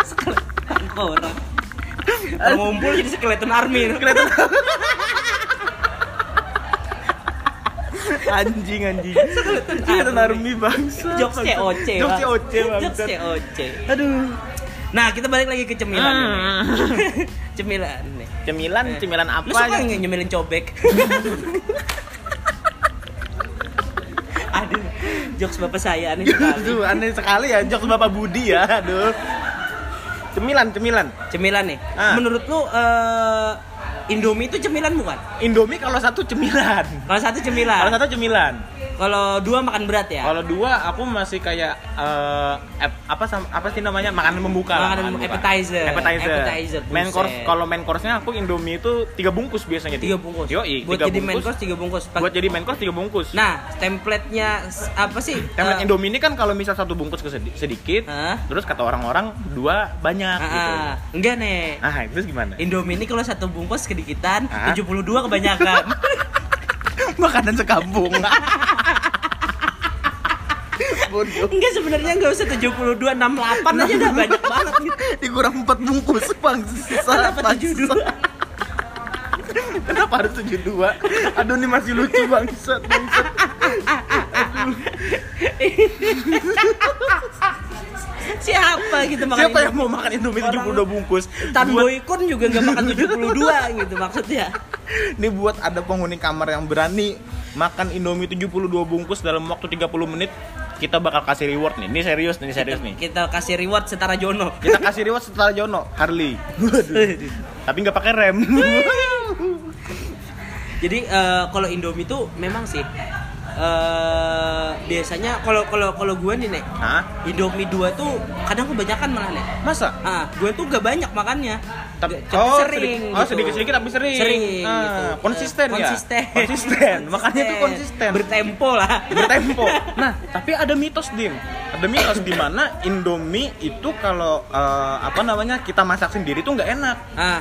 [SPEAKER 2] skeleton orang Kalau ngumpul jadi skeleton army skeleton
[SPEAKER 1] Anjing anjing. Kita narumi bangsa.
[SPEAKER 2] jokes COC Pak.
[SPEAKER 1] Jokes COC
[SPEAKER 2] jokes
[SPEAKER 1] bangsa.
[SPEAKER 2] COC
[SPEAKER 1] Aduh.
[SPEAKER 2] nah kita balik lagi ke cemilan ini. cemilan nih
[SPEAKER 1] Cemilan, cemilan
[SPEAKER 2] Eh. lu suka
[SPEAKER 1] apa?
[SPEAKER 2] nggak nyemilin cobek aduh jokes bapak saya aneh sekali
[SPEAKER 1] Aduh, aneh sekali ya jokes Bapak Budi ya. Aduh. Cemilan, cemilan.
[SPEAKER 2] cemilan nih
[SPEAKER 1] Ah.
[SPEAKER 2] menurut lu eh, Indomie itu cemilan bukan?
[SPEAKER 1] Indomie kalau satu cemilan.
[SPEAKER 2] Kalau
[SPEAKER 1] Kalau
[SPEAKER 2] satu cemilan.
[SPEAKER 1] satu cemilan.
[SPEAKER 2] Kalau dua makan berat ya.
[SPEAKER 1] Kalau dua aku masih kayak eh, ap- apa sam- apa sih namanya makanan membuka. lah,
[SPEAKER 2] Makanan
[SPEAKER 1] membuka.
[SPEAKER 2] appetizer.
[SPEAKER 1] Appetizer.
[SPEAKER 2] Appetizer,
[SPEAKER 1] Main
[SPEAKER 2] buset.
[SPEAKER 1] course kalau main course-nya aku Indomie itu tiga bungkus biasanya. Di.
[SPEAKER 2] tiga bungkus.
[SPEAKER 1] Yoi,
[SPEAKER 2] buat
[SPEAKER 1] tiga
[SPEAKER 2] jadi main
[SPEAKER 1] bungkus.
[SPEAKER 2] course tiga bungkus. Pak-
[SPEAKER 1] buat jadi main course tiga bungkus.
[SPEAKER 2] Nah, template-nya s- apa sih?
[SPEAKER 1] Template
[SPEAKER 2] Eh,
[SPEAKER 1] Indomie ini kan kalau misal satu bungkus kesedi- sedikit,
[SPEAKER 2] Hah?
[SPEAKER 1] terus kata orang-orang dua banyak
[SPEAKER 2] ah,
[SPEAKER 1] gitu.
[SPEAKER 2] ah. Enggak nih.
[SPEAKER 1] Nah, terus gimana?
[SPEAKER 2] Indomie ini kalau satu bungkus kedikitan,
[SPEAKER 1] Ah.
[SPEAKER 2] 72 kebanyakan.
[SPEAKER 1] Makanan sekampung. Bodoh.
[SPEAKER 2] Enggak sebenarnya enggak usah 72, 68 aja udah banyak banget gitu.
[SPEAKER 1] Dikurang 4 bungkus, bangsa.
[SPEAKER 2] Kenapa 72?
[SPEAKER 1] Kenapa harus 72? Aduh, ini masih lucu, bangsa. bangsa.
[SPEAKER 2] Siapa gitu makan
[SPEAKER 1] Siapa
[SPEAKER 2] Indomie?
[SPEAKER 1] yang mau makan Indomie 72 bungkus?
[SPEAKER 2] Tan
[SPEAKER 1] Buat-
[SPEAKER 2] Boykun juga nggak makan 72 gitu maksudnya.
[SPEAKER 1] Ini buat ada penghuni kamar yang berani makan Indomie 72 bungkus dalam waktu 30 menit, kita bakal kasih reward nih. Ini serius nih, ini serius nih.
[SPEAKER 2] Kita kasih reward setara Jono.
[SPEAKER 1] Kita kasih reward setelah Jono, Harley. Tapi nggak pakai rem.
[SPEAKER 2] Jadi eh, kalau Indomie tuh memang sih eh biasanya kalau kalau kalau gue nih nek
[SPEAKER 1] Hah?
[SPEAKER 2] Indomie 2 tuh kadang kebanyakan malah nek.
[SPEAKER 1] Masa?
[SPEAKER 2] Ah, gue tuh gak banyak makannya.
[SPEAKER 1] Tapi
[SPEAKER 2] Gak- tapi sering.
[SPEAKER 1] sedi- oh
[SPEAKER 2] gitu.
[SPEAKER 1] sedikit-sedikit tapi sering.
[SPEAKER 2] Sering.
[SPEAKER 1] Ah,
[SPEAKER 2] gitu.
[SPEAKER 1] Konsisten
[SPEAKER 2] Eh,
[SPEAKER 1] ya.
[SPEAKER 2] Konsisten.
[SPEAKER 1] Konsisten. Makanya tuh konsisten.
[SPEAKER 2] Bertempo lah.
[SPEAKER 1] Bertempo. Nah, tapi ada mitos dim. Ada mitos di mana Indomie itu kalau eh, apa namanya kita masak sendiri tuh nggak enak.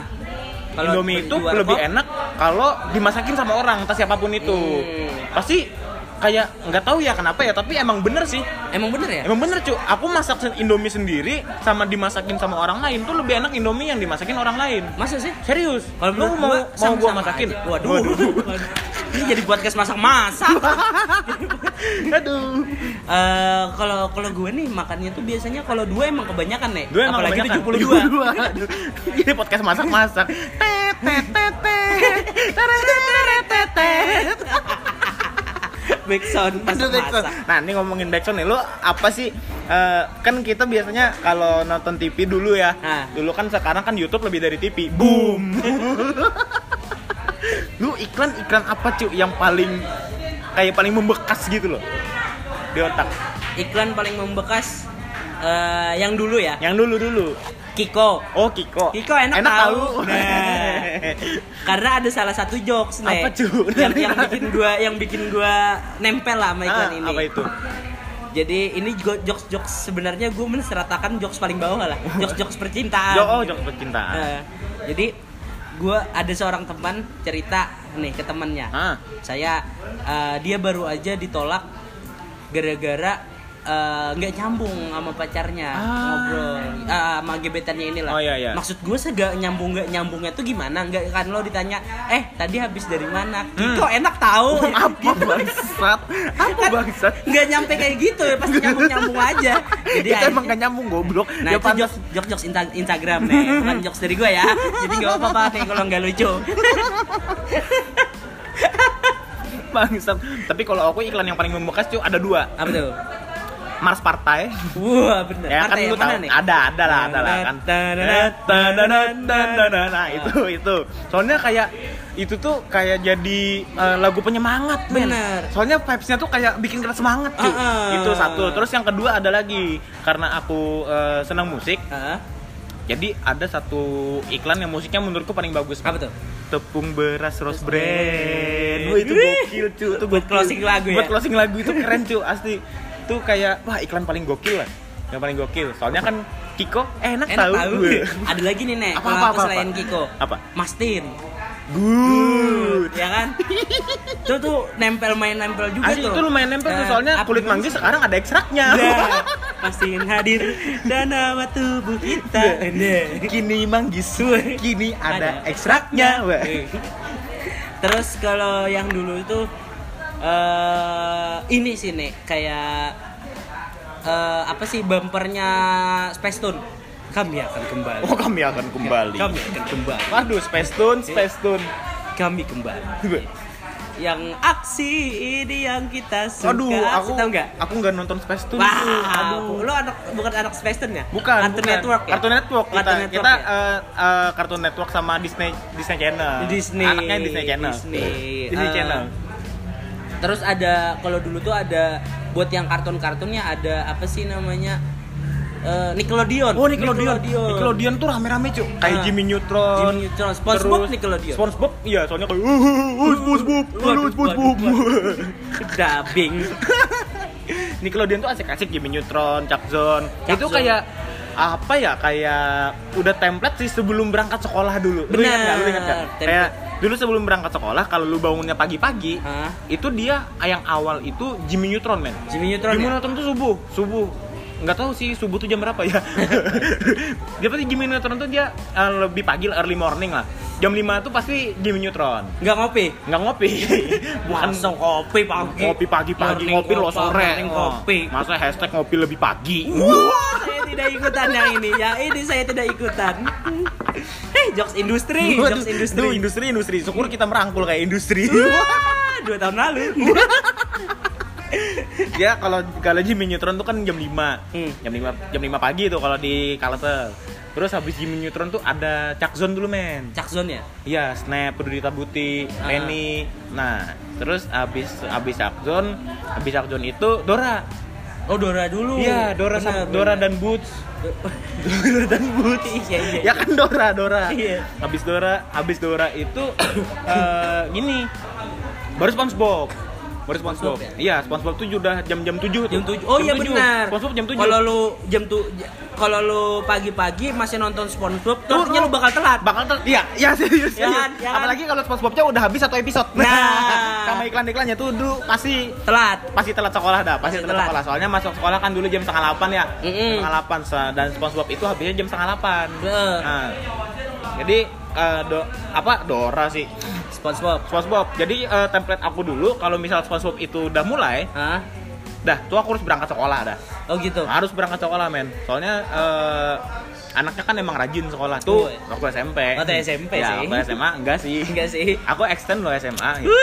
[SPEAKER 2] Ah.
[SPEAKER 1] Indomie
[SPEAKER 2] beli
[SPEAKER 1] itu
[SPEAKER 2] di warkop,
[SPEAKER 1] lebih enak kalau dimasakin sama orang, entah siapapun itu.
[SPEAKER 2] Hmm.
[SPEAKER 1] Pasti kayak nggak tahu ya kenapa ya, tapi emang bener sih.
[SPEAKER 2] Emang bener ya?
[SPEAKER 1] Emang bener cu, aku masak sen- Indomie sendiri sama dimasakin sama orang lain tuh lebih enak Indomie yang dimasakin orang lain.
[SPEAKER 2] Masa sih?
[SPEAKER 1] Serius?
[SPEAKER 2] Kalau
[SPEAKER 1] lu
[SPEAKER 2] menurut
[SPEAKER 1] mau mau
[SPEAKER 2] gua,
[SPEAKER 1] gua
[SPEAKER 2] sama-sama
[SPEAKER 1] masakin?
[SPEAKER 2] aja. Waduh. Waduh. Ini jadi podcast masak-masak.
[SPEAKER 1] Aduh.
[SPEAKER 2] Eh, kalau kalau gue nih makannya tuh biasanya kalau dua emang kebanyakan nih.
[SPEAKER 1] Dua emang
[SPEAKER 2] Apalagi
[SPEAKER 1] kebanyakan. 72.
[SPEAKER 2] 72.
[SPEAKER 1] Aduh. Ini podcast masak-masak. Tet, tet, tet, tet. Tereret, tet, tet.
[SPEAKER 2] Back sound pas
[SPEAKER 1] Aduh, backsound.
[SPEAKER 2] masak.
[SPEAKER 1] Nah, ini ngomongin backsound nih, lu apa sih eh, kan kita biasanya kalau nonton TV dulu ya.
[SPEAKER 2] Ah.
[SPEAKER 1] Dulu kan sekarang kan YouTube lebih dari TV. Boom. lu iklan-iklan apa, cuy, yang paling kayak paling membekas gitu loh di otak.
[SPEAKER 2] Iklan paling membekas eh, yang dulu ya.
[SPEAKER 1] Yang dulu-dulu.
[SPEAKER 2] Kiko.
[SPEAKER 1] Oh, Kiko.
[SPEAKER 2] Kiko enak tahu. Nah. Karena ada salah satu jokes nih.
[SPEAKER 1] Apa, Cu?
[SPEAKER 2] Yang, yang bikin gua yang bikin gua nempel lah sama iklan
[SPEAKER 1] Ah,
[SPEAKER 2] ini.
[SPEAKER 1] Apa itu?
[SPEAKER 2] Jadi ini juga jokes-jokes sebenarnya gue menseratakan jokes paling bawah lah, jokes-jokes percintaan.
[SPEAKER 1] Jok, oh, jok percintaan.
[SPEAKER 2] Ah. Eh, jadi gue ada seorang teman cerita nih ke temannya.
[SPEAKER 1] Ah.
[SPEAKER 2] Saya eh, dia baru aja ditolak gara-gara eh, nggak nyambung sama pacarnya
[SPEAKER 1] Ah.
[SPEAKER 2] ngobrol eh, sama gebetannya inilah.
[SPEAKER 1] Oh, iya, iya.
[SPEAKER 2] Maksud gue segak nyambung nggak nyambungnya tuh gimana? Nggak kan lo ditanya, eh tadi habis dari mana? Gitu,
[SPEAKER 1] Hmm.
[SPEAKER 2] Kok enak tahu?
[SPEAKER 1] apa bangsat? Apa
[SPEAKER 2] Gitu. Kan
[SPEAKER 1] bangsat?
[SPEAKER 2] nggak nyampe kayak gitu ya pasti nyambung nyambung aja. Jadi
[SPEAKER 1] Kita emang
[SPEAKER 2] akhirnya-
[SPEAKER 1] gak nyambung goblok.
[SPEAKER 2] Nah
[SPEAKER 1] ya
[SPEAKER 2] itu
[SPEAKER 1] pantas.
[SPEAKER 2] jokes, jokes, jokes insta- Instagram nih, bukan jokes dari gue ya. Jadi gak apa-apa nih kalau nggak lucu.
[SPEAKER 1] bangsat. Tapi kalau aku iklan yang paling membekas cuy ada dua.
[SPEAKER 2] Apa tuh?
[SPEAKER 1] Mars Partai.
[SPEAKER 2] Wah bener.
[SPEAKER 1] Ya kan
[SPEAKER 2] Partai
[SPEAKER 1] lu
[SPEAKER 2] yang mana
[SPEAKER 1] tahu
[SPEAKER 2] nih?
[SPEAKER 1] ada ada lah ada lah kan.
[SPEAKER 2] Tadadad, tadadad, tadadad.
[SPEAKER 1] Nah, itu itu. Soalnya kayak itu tuh kayak jadi eh, lagu penyemangat men.
[SPEAKER 2] Bener.
[SPEAKER 1] Soalnya vibes-nya tuh kayak bikin kita semangat cuy.
[SPEAKER 2] Ah, ah.
[SPEAKER 1] Itu satu. Terus yang kedua ada lagi karena aku eh, senang musik.
[SPEAKER 2] Hah?
[SPEAKER 1] Jadi ada satu iklan yang musiknya menurutku paling bagus.
[SPEAKER 2] Apa tuh?
[SPEAKER 1] Tepung beras rose brand.
[SPEAKER 2] brand.
[SPEAKER 1] Wah, itu gokil cu, itu
[SPEAKER 2] Buat
[SPEAKER 1] gokil.
[SPEAKER 2] closing lagu ya?
[SPEAKER 1] Buat closing lagu itu keren cu, asli. Itu kayak wah iklan paling gokil lah. Yang paling gokil. Soalnya kan Kiko eh, enak,
[SPEAKER 2] Enak
[SPEAKER 1] tahu.
[SPEAKER 2] tahu.
[SPEAKER 1] Wah.
[SPEAKER 2] Ada lagi nih nek.
[SPEAKER 1] Apa,
[SPEAKER 2] Kalau
[SPEAKER 1] apa,
[SPEAKER 2] aku
[SPEAKER 1] apa,
[SPEAKER 2] selain
[SPEAKER 1] apa?
[SPEAKER 2] Kiko.
[SPEAKER 1] Apa?
[SPEAKER 2] Mastin.
[SPEAKER 1] Good.
[SPEAKER 2] Ya kan? Itu tuh nempel main nempel juga
[SPEAKER 1] Asli
[SPEAKER 2] tuh.
[SPEAKER 1] itu lumayan nempel tuh
[SPEAKER 2] Eh,
[SPEAKER 1] soalnya
[SPEAKER 2] apa
[SPEAKER 1] kulit
[SPEAKER 2] gimana
[SPEAKER 1] manggis sekarang ada ekstraknya.
[SPEAKER 2] Nah, Mastin hadir dan nama tubuh kita. Nah.
[SPEAKER 1] Kini manggis, kini ada
[SPEAKER 2] Ada.
[SPEAKER 1] ekstraknya. Wah.
[SPEAKER 2] Terus kalau yang dulu itu eh ini sih nih kayak eh, apa sih bumpernya Space Tune? Kami akan kembali.
[SPEAKER 1] Oh kami akan kembali.
[SPEAKER 2] Kami akan kembali.
[SPEAKER 1] Waduh, Space Tune, Space Tune.
[SPEAKER 2] Iya. Kami kembali. yang aksi ini yang kita suka
[SPEAKER 1] Aduh, aku
[SPEAKER 2] tahu nggak
[SPEAKER 1] Aku nggak nonton Space Tune.
[SPEAKER 2] Wah,
[SPEAKER 1] tuh. Aduh.
[SPEAKER 2] lo anak bukan anak Space Tune ya?
[SPEAKER 1] Bukan,
[SPEAKER 2] Cartoon
[SPEAKER 1] bukan.
[SPEAKER 2] Network ya?
[SPEAKER 1] Cartoon Network kita,
[SPEAKER 2] Cartoon Network
[SPEAKER 1] kita
[SPEAKER 2] ya?
[SPEAKER 1] eh, eh, Cartoon Network sama Disney Disney Channel.
[SPEAKER 2] Disney.
[SPEAKER 1] Anaknya Disney Ah. Channel.
[SPEAKER 2] Disney,
[SPEAKER 1] Disney
[SPEAKER 2] eh,
[SPEAKER 1] Channel.
[SPEAKER 2] Terus ada kalau dulu tuh ada buat yang kartun-kartunnya ada apa sih namanya? Eh, Nickelodeon.
[SPEAKER 1] Oh Nickelodeon.
[SPEAKER 2] Nickelodeon.
[SPEAKER 1] Nickelodeon tuh rame-rame cuy. Kayak
[SPEAKER 2] Ah.
[SPEAKER 1] Jimmy Neutron.
[SPEAKER 2] Jimmy Neutron. SpongeBob
[SPEAKER 1] terus-
[SPEAKER 2] Nickelodeon.
[SPEAKER 1] SpongeBob iya soalnya kayak "Uh, uh, uh, SpongeBob, halo
[SPEAKER 2] Waduh,
[SPEAKER 1] SpongeBob.
[SPEAKER 2] waduh, waduh. Dubbing.
[SPEAKER 1] Nickelodeon tuh asik-asik Jimmy Neutron, Chuck Zone.
[SPEAKER 2] Chuck
[SPEAKER 1] itu
[SPEAKER 2] Zone.
[SPEAKER 1] kayak apa ya kayak udah template sih sebelum berangkat sekolah dulu. Lu ingat nggak? Lu ingat nggak?
[SPEAKER 2] Benar,
[SPEAKER 1] Kayak dulu sebelum berangkat sekolah kalau lu bangunnya pagi-pagi,
[SPEAKER 2] Hah?
[SPEAKER 1] itu dia yang awal itu Jimmy Neutron men.
[SPEAKER 2] Jimmy Neutron.
[SPEAKER 1] Jimmy
[SPEAKER 2] ya?
[SPEAKER 1] Neutron tuh subuh, subuh. Nggak tahu sih subuh tuh jam berapa ya. dia pasti Jimmy Neutron tuh dia eh, lebih pagi lah, early morning lah. Jam 5 tuh pasti Jimmy Neutron.
[SPEAKER 2] Nggak ngopi.
[SPEAKER 1] Nggak ngopi. Bukan
[SPEAKER 2] Langsung kopi pagi.
[SPEAKER 1] Ngopi pagi-pagi,
[SPEAKER 2] Morning
[SPEAKER 1] ngopi lo
[SPEAKER 2] kopi,
[SPEAKER 1] sore.
[SPEAKER 2] morning
[SPEAKER 1] Oh.
[SPEAKER 2] Kopi.
[SPEAKER 1] Masa hashtag ngopi lebih pagi.
[SPEAKER 2] Wah, saya tidak ikutan yang ini. Yang ini saya tidak ikutan. Hei, jokes industri,
[SPEAKER 1] Waduh,
[SPEAKER 2] jokes
[SPEAKER 1] Duh,
[SPEAKER 2] industri.
[SPEAKER 1] industri, industri. Syukur kita merangkul kayak industri.
[SPEAKER 2] Wah, dua tahun lalu.
[SPEAKER 1] ya kalau kalau Jimmy Neutron tuh kan jam 5.
[SPEAKER 2] Hmm.
[SPEAKER 1] Jam 5 jam 5 pagi tuh kalau di Kalsel. Terus habis Jimmy Neutron tuh ada Chuck Zone dulu, men.
[SPEAKER 2] Cakzon ya?
[SPEAKER 1] Iya, Snap, Rudita Buti,
[SPEAKER 2] Ah.
[SPEAKER 1] Lenny. Nah, terus abis abis Akzon, abis Akzon itu Dora.
[SPEAKER 2] Oh, Dora dulu.
[SPEAKER 1] Iya, Dora
[SPEAKER 2] Bener,
[SPEAKER 1] sama
[SPEAKER 2] bener.
[SPEAKER 1] Dora dan Boots. Dora dan Boots.
[SPEAKER 2] Iya, iya.
[SPEAKER 1] Ya kan Dora, Dora.
[SPEAKER 2] Iya.
[SPEAKER 1] Abis Dora, abis Dora itu eh, gini. Baru SpongeBob. Baru SpongeBob.
[SPEAKER 2] SpongeBob ya?
[SPEAKER 1] Iya, SpongeBob tuh udah jam-jam 7 tuh.
[SPEAKER 2] jam 7. Oh
[SPEAKER 1] Jam
[SPEAKER 2] iya
[SPEAKER 1] 7.
[SPEAKER 2] benar.
[SPEAKER 1] SpongeBob jam 7.
[SPEAKER 2] Kalau lu jam tuh kalau lu pagi-pagi masih nonton SpongeBob, takutnya lu bakal telat.
[SPEAKER 1] bakal telat iya iya serius,
[SPEAKER 2] Ya kan,
[SPEAKER 1] serius.
[SPEAKER 2] ya kan?
[SPEAKER 1] apalagi kalau SpongeBob-nya udah habis satu episode
[SPEAKER 2] Nah.
[SPEAKER 1] sama iklan-iklannya tuh dulu pasti
[SPEAKER 2] Telat.
[SPEAKER 1] pasti telat sekolah dah pasti,
[SPEAKER 2] Pasti
[SPEAKER 1] telat,
[SPEAKER 2] telat.
[SPEAKER 1] sekolah soalnya masuk sekolah kan dulu jam setengah delapan ya
[SPEAKER 2] Mm-mm.
[SPEAKER 1] setengah delapan se- dan SpongeBob itu habisnya jam setengah delapan
[SPEAKER 2] Heeh.
[SPEAKER 1] Nah, jadi eh, do- apa Dora sih
[SPEAKER 2] SpongeBob.
[SPEAKER 1] SpongeBob jadi eh, template aku dulu kalau misal SpongeBob itu udah mulai
[SPEAKER 2] Hah?
[SPEAKER 1] dah tuh aku harus berangkat sekolah dah
[SPEAKER 2] Oh gitu.
[SPEAKER 1] harus berangkat sekolah men soalnya eh, anaknya kan emang rajin sekolah tuh
[SPEAKER 2] Oh.
[SPEAKER 1] waktu SMP
[SPEAKER 2] Waktu SMP
[SPEAKER 1] ya,
[SPEAKER 2] sih.
[SPEAKER 1] waktu SMA enggak sih
[SPEAKER 2] Enggak sih.
[SPEAKER 1] aku extend loh SMA gitu.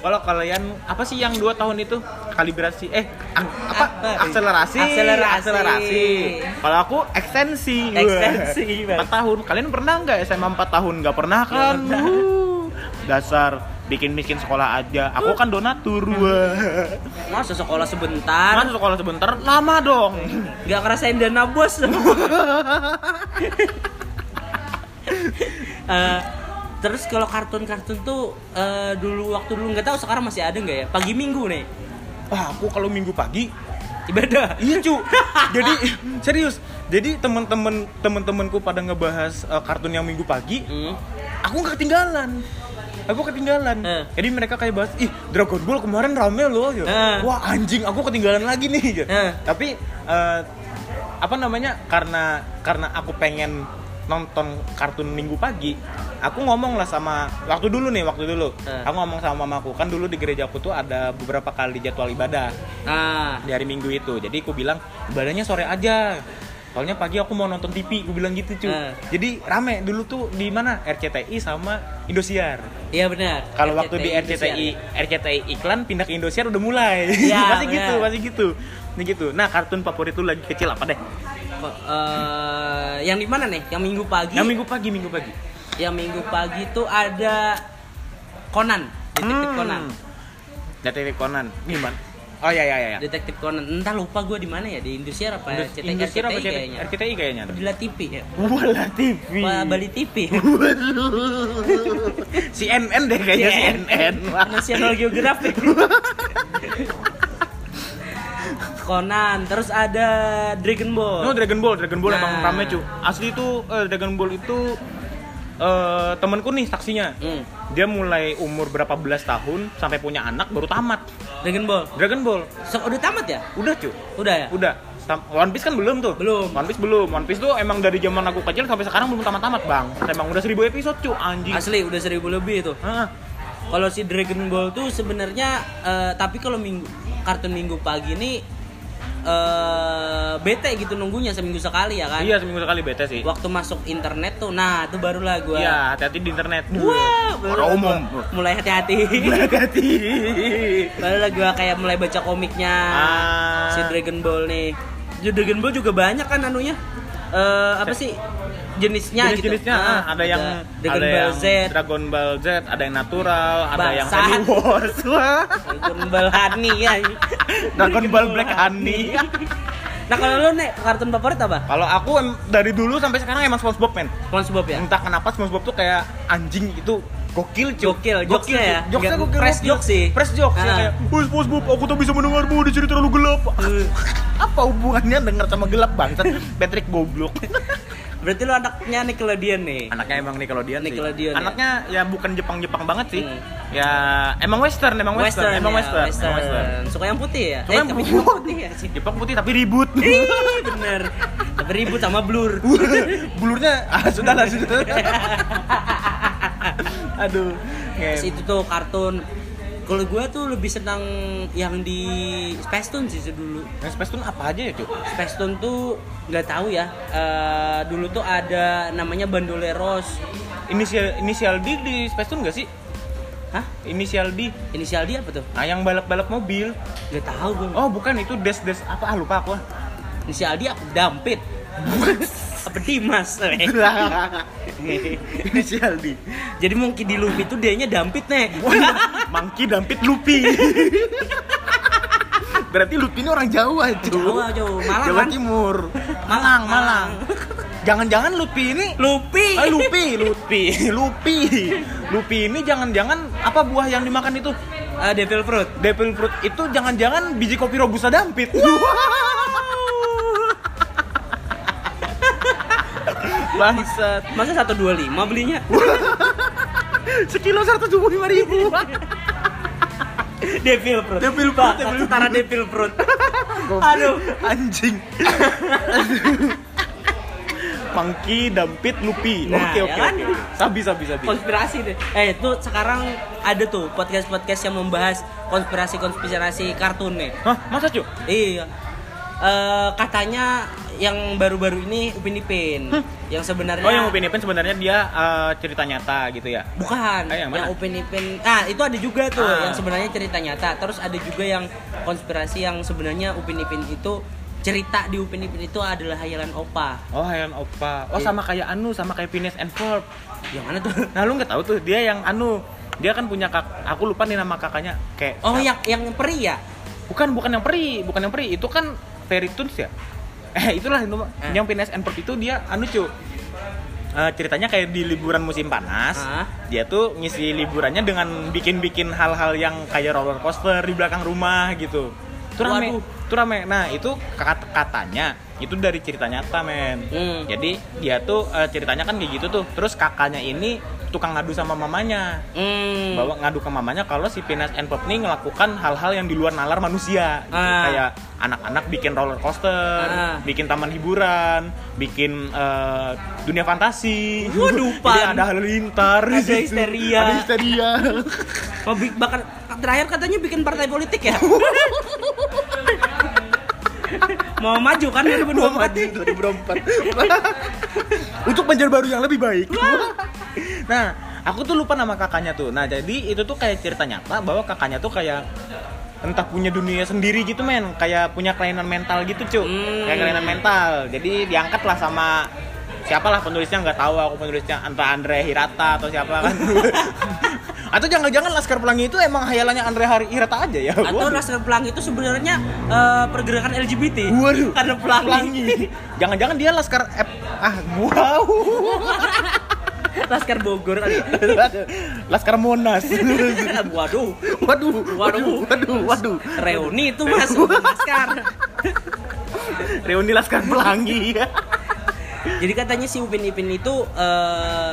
[SPEAKER 1] Kalau kalian apa sih yang 2 tahun itu kalibrasi eh ang- apa,
[SPEAKER 2] Apa?
[SPEAKER 1] akselerasi
[SPEAKER 2] Akselerasi.
[SPEAKER 1] akselerasi. Kalau aku ekstensi.
[SPEAKER 2] Ekstensi, Bang.
[SPEAKER 1] 4 tahun. Kalian pernah nggak SMA 4 tahun? Nggak pernah kan?
[SPEAKER 2] Nggak pernah.
[SPEAKER 1] Wuh. Dasar bikin miskin sekolah aja. Aku kan donatur. Wah.
[SPEAKER 2] Masa sekolah sebentar
[SPEAKER 1] Kan sekolah sebentar lama dong.
[SPEAKER 2] nggak ngerasain dana bos Eh, terus kalau kartun-kartun tuh eh, dulu waktu dulu nggak tahu sekarang masih ada nggak ya pagi minggu nih
[SPEAKER 1] Wah, Ah, aku kalau minggu pagi
[SPEAKER 2] ibadah
[SPEAKER 1] Iya cu, jadi serius. Jadi temen-temen temen-temenku pada ngebahas eh, kartun yang minggu pagi,
[SPEAKER 2] Hmm.
[SPEAKER 1] aku nggak ketinggalan aku ketinggalan
[SPEAKER 2] Eh.
[SPEAKER 1] jadi mereka kayak bahas ih Dragon Ball kemarin rame loh gitu.
[SPEAKER 2] Eh.
[SPEAKER 1] wah anjing aku ketinggalan lagi nih gitu.
[SPEAKER 2] Eh.
[SPEAKER 1] tapi eh, apa namanya karena karena aku pengen nonton kartun minggu pagi aku ngomong lah sama waktu dulu nih waktu dulu
[SPEAKER 2] Eh.
[SPEAKER 1] aku ngomong sama mamaku kan dulu di gereja aku tuh ada beberapa kali jadwal ibadah
[SPEAKER 2] ah
[SPEAKER 1] di hari minggu itu jadi aku bilang ibadahnya sore aja soalnya pagi aku mau nonton TV aku bilang gitu cuy
[SPEAKER 2] Eh.
[SPEAKER 1] jadi rame dulu tuh di mana RCTI sama Indosiar
[SPEAKER 2] iya benar
[SPEAKER 1] kalau waktu di RCTI
[SPEAKER 2] Indosiar.
[SPEAKER 1] RCTI iklan pindah ke Indosiar udah mulai
[SPEAKER 2] Iya,
[SPEAKER 1] masih
[SPEAKER 2] benar.
[SPEAKER 1] gitu masih gitu ini gitu nah kartun favorit lu lagi kecil apa deh
[SPEAKER 2] Ko- eh, yang di mana nih yang minggu pagi
[SPEAKER 1] yang minggu pagi minggu pagi
[SPEAKER 2] yang minggu pagi tuh ada Conan detektif
[SPEAKER 1] Hmm.
[SPEAKER 2] Conan
[SPEAKER 1] Detektif Conan gimana oh ya ya ya, ya.
[SPEAKER 2] detektif Conan entah lupa gue di mana ya di Indosiar apa
[SPEAKER 1] Indos-
[SPEAKER 2] RCTI,
[SPEAKER 1] Indosiar apa RCTI?
[SPEAKER 2] kayaknya
[SPEAKER 1] RCTI kayaknya ada.
[SPEAKER 2] di La TV ya
[SPEAKER 1] Wala TV.
[SPEAKER 2] Wah, Bali TV
[SPEAKER 1] CNN deh kayaknya
[SPEAKER 2] Iya,
[SPEAKER 1] CNN.
[SPEAKER 2] National Geographic. Conan, terus ada Dragon Ball.
[SPEAKER 1] Oh. No Dragon Ball, Dragon Ball
[SPEAKER 2] Nah.
[SPEAKER 1] emang rame cu. Asli itu eh, Dragon Ball itu eh temanku nih saksinya.
[SPEAKER 2] Hmm,
[SPEAKER 1] Dia mulai umur berapa belas tahun sampai punya anak baru tamat.
[SPEAKER 2] Dragon Ball.
[SPEAKER 1] Dragon Ball
[SPEAKER 2] So, udah tamat ya?
[SPEAKER 1] udah cu,
[SPEAKER 2] Udah ya?
[SPEAKER 1] udah. Sam- One Piece kan belum tuh.
[SPEAKER 2] Belum.
[SPEAKER 1] One Piece belum. One Piece tuh emang dari zaman aku kecil sampai sekarang belum tamat-tamat bang. Emang udah seribu episode cu anjing.
[SPEAKER 2] Asli udah seribu lebih itu.
[SPEAKER 1] Heeh.
[SPEAKER 2] Kalau si Dragon Ball tuh sebenarnya eh, tapi kalau minggu kartun minggu pagi ini eh, bete gitu nunggunya seminggu sekali ya kan
[SPEAKER 1] Iya seminggu sekali bete sih.
[SPEAKER 2] waktu masuk internet tuh nah itu barulah gua
[SPEAKER 1] Iya hati-hati di internet.
[SPEAKER 2] Wah, baru
[SPEAKER 1] Orang umum.
[SPEAKER 2] mulai hati-hati
[SPEAKER 1] Hati-hati.
[SPEAKER 2] barulah gua kayak mulai baca komiknya
[SPEAKER 1] Ah.
[SPEAKER 2] si Dragon Ball nih Jadi Ya, Dragon Ball juga banyak kan anunya Eh, apa sih jenisnya gitu
[SPEAKER 1] Jenis-jenisnya
[SPEAKER 2] Ah,
[SPEAKER 1] ah, ada yang
[SPEAKER 2] Dragon
[SPEAKER 1] ada
[SPEAKER 2] Ball
[SPEAKER 1] yang
[SPEAKER 2] Z
[SPEAKER 1] Dragon Ball Z, ada yang natural, ada yang
[SPEAKER 2] Bangsat.
[SPEAKER 1] Sally Wars. Wah.
[SPEAKER 2] Dragon Ball Honey ya
[SPEAKER 1] Dragon Ball Black Honey.
[SPEAKER 2] nah kalau lu nek kartun favorit apa
[SPEAKER 1] Kalau aku em- dari dulu sampai sekarang emang SpongeBob men.
[SPEAKER 2] SpongeBob ya
[SPEAKER 1] Entah kenapa SpongeBob tuh kayak anjing itu gokil cuy.
[SPEAKER 2] Gokil, jokesnya
[SPEAKER 1] cuy.
[SPEAKER 2] ya?
[SPEAKER 1] Jokesnya
[SPEAKER 2] Nggak-
[SPEAKER 1] gokil.
[SPEAKER 2] press
[SPEAKER 1] gokil.
[SPEAKER 2] jokes sih.
[SPEAKER 1] Press jokes ya
[SPEAKER 2] Ah.
[SPEAKER 1] kayak, "Woi SpongeBob, aku tak bisa mendengarmu di sini terlalu gelap."
[SPEAKER 2] Eh,
[SPEAKER 1] Apa hubungannya denger sama gelap bangsat? Patrick goblok.
[SPEAKER 2] berarti lu anaknya Nickelodeon nih
[SPEAKER 1] Anaknya emang Nickelodeon,
[SPEAKER 2] Nickelodeon,
[SPEAKER 1] sih. Anaknya ya bukan Jepang-Jepang banget sih.
[SPEAKER 2] Hmm.
[SPEAKER 1] Ya emang western, emang western, emang
[SPEAKER 2] ya,
[SPEAKER 1] western, emang western.
[SPEAKER 2] suka yang putih ya
[SPEAKER 1] Cuma
[SPEAKER 2] Eh,
[SPEAKER 1] yang
[SPEAKER 2] tapi
[SPEAKER 1] putih.
[SPEAKER 2] cuma putih ya sih
[SPEAKER 1] Jepang putih tapi ribut.
[SPEAKER 2] Ih, bener tapi ribut sama blur
[SPEAKER 1] Bulurnya ah sudah lah sudah. Aduh.
[SPEAKER 2] Terus
[SPEAKER 1] Nge-
[SPEAKER 2] itu tuh kartun kalau gue tuh lebih senang yang di Spacetoon sih dulu
[SPEAKER 1] Yang Space Tune apa aja ya, Cuk?
[SPEAKER 2] Spacetoon tuh nggak tahu ya Eh, dulu tuh ada namanya Bandoleros
[SPEAKER 1] Inisial inisial D di Space Tune enggak sih?
[SPEAKER 2] hah
[SPEAKER 1] Inisial D.
[SPEAKER 2] inisial dia apa tuh
[SPEAKER 1] Nah, yang balap-balap mobil.
[SPEAKER 2] nggak tahu gue
[SPEAKER 1] Oh, bukan itu des-des apa ah lupa aku. ah.
[SPEAKER 2] inisial dia apa Dampit apa Dimas eh.
[SPEAKER 1] inisial D.
[SPEAKER 2] jadi mungkin di Luffy tuh dia nya Dampit nek
[SPEAKER 1] Mangki dampit Lupi. Berarti Lupi ini orang Jawa, Cuk.
[SPEAKER 2] Jawa, Jawa. Malang,
[SPEAKER 1] Jawa
[SPEAKER 2] kan?
[SPEAKER 1] Timur. Malang, Malang. Jangan-jangan Lupi ini
[SPEAKER 2] Luffy
[SPEAKER 1] Eh, Lupi, Lupi, Lupi. Lupi ini jangan-jangan apa buah yang dimakan itu?
[SPEAKER 2] Ah, Devil Fruit
[SPEAKER 1] Devil fruit itu jangan-jangan biji kopi robusta dampit. Bangsat.
[SPEAKER 2] masa 125 belinya
[SPEAKER 1] Sekilo 175 ribu.
[SPEAKER 2] Devil Fruit
[SPEAKER 1] Devil Fruit,
[SPEAKER 2] Pak,
[SPEAKER 1] Devil
[SPEAKER 2] setara
[SPEAKER 1] Fruit.
[SPEAKER 2] Devil Fruit aduh
[SPEAKER 1] Anjing. Pangki, dampit, lupi.
[SPEAKER 2] Nah,
[SPEAKER 1] oke,
[SPEAKER 2] ya
[SPEAKER 1] oke,
[SPEAKER 2] kan?
[SPEAKER 1] oke. Sabi, sabi, sabi.
[SPEAKER 2] konspirasi deh. Eh, itu sekarang ada tuh podcast-podcast yang membahas konspirasi-konspirasi kartun nih.
[SPEAKER 1] Hah, masa cuy?
[SPEAKER 2] Iya. Eh, katanya yang baru-baru ini Upin Ipin. Yang sebenarnya
[SPEAKER 1] Oh, yang Upin Ipin sebenarnya dia eh, cerita nyata gitu ya.
[SPEAKER 2] Bukan,
[SPEAKER 1] Eh, yang
[SPEAKER 2] yang,
[SPEAKER 1] mana?
[SPEAKER 2] Upin Ipin. Nah, itu ada juga tuh
[SPEAKER 1] Ah.
[SPEAKER 2] yang sebenarnya cerita nyata. Terus ada juga yang konspirasi yang sebenarnya Upin Ipin itu cerita di Upin Ipin itu adalah hayalan opa.
[SPEAKER 1] Oh, Hayan Opa. Oh,
[SPEAKER 2] Iya.
[SPEAKER 1] sama kayak Anu, sama kayak Phineas and Ferb.
[SPEAKER 2] Yang mana tuh?
[SPEAKER 1] Nah, lu nggak tahu tuh dia yang Anu. Dia kan punya kak, aku lupa nih nama kakaknya. Kayak
[SPEAKER 2] Oh, yang yang peri ya?
[SPEAKER 1] bukan bukan yang peri, bukan yang peri. Itu kan Fairy Tunes ya. Eh, itulah itu, yang Phineas and Ferb itu dia Anu cu. Eh, ceritanya kayak di liburan musim panas,
[SPEAKER 2] Ah.
[SPEAKER 1] dia tuh ngisi liburannya dengan bikin-bikin hal-hal yang kayak roller coaster di belakang rumah gitu. Itu rame,
[SPEAKER 2] Waduh.
[SPEAKER 1] itu rame. Nah itu kat- katanya itu dari cerita nyata men.
[SPEAKER 2] Hmm.
[SPEAKER 1] Jadi dia tuh eh, ceritanya kan kayak gitu tuh. Terus kakaknya ini tukang ngadu sama mamanya
[SPEAKER 2] Hmm.
[SPEAKER 1] bahwa ngadu ke mamanya kalau si Pinas and Pop ini melakukan hal-hal yang di luar nalar manusia gitu.
[SPEAKER 2] Ah.
[SPEAKER 1] kayak anak-anak bikin roller coaster,
[SPEAKER 2] Ah.
[SPEAKER 1] bikin taman hiburan, bikin eh, dunia fantasi.
[SPEAKER 2] Waduh,
[SPEAKER 1] Jadi
[SPEAKER 2] Pan.
[SPEAKER 1] ada halilintar,
[SPEAKER 2] Ada
[SPEAKER 1] gitu.
[SPEAKER 2] histeria.
[SPEAKER 1] ada histeria.
[SPEAKER 2] Oh, bi- bakal terakhir katanya bikin partai politik ya? Mau maju kan 2024
[SPEAKER 1] Dua mati 2024. Untuk penjara baru yang lebih baik. nah, aku tuh lupa nama kakaknya tuh. Nah, jadi itu tuh kayak cerita nyata bahwa kakaknya tuh kayak entah punya dunia sendiri gitu men kayak punya kelainan mental gitu cu
[SPEAKER 2] Hmm.
[SPEAKER 1] kayak kelainan mental jadi diangkat lah sama siapalah penulisnya nggak tahu aku penulisnya entah Andre Hirata atau siapa kan atau jangan-jangan Laskar Pelangi itu emang hayalannya Andre Hari- Hirata aja ya
[SPEAKER 2] Atau
[SPEAKER 1] Waduh.
[SPEAKER 2] Laskar Pelangi itu sebenarnya eh, pergerakan LGBT.
[SPEAKER 1] Waduh.
[SPEAKER 2] Karena pelangi.
[SPEAKER 1] Jangan-jangan dia laskar F. Ah, wow.
[SPEAKER 2] Laskar Bogor tadi.
[SPEAKER 1] laskar Monas.
[SPEAKER 2] Waduh.
[SPEAKER 1] Waduh,
[SPEAKER 2] Waduh.
[SPEAKER 1] waduh, waduh, waduh.
[SPEAKER 2] Reuni itu Mas, bukan Laskar.
[SPEAKER 1] Reuni laskar pelangi.
[SPEAKER 2] Jadi katanya si Upin Ipin itu eh,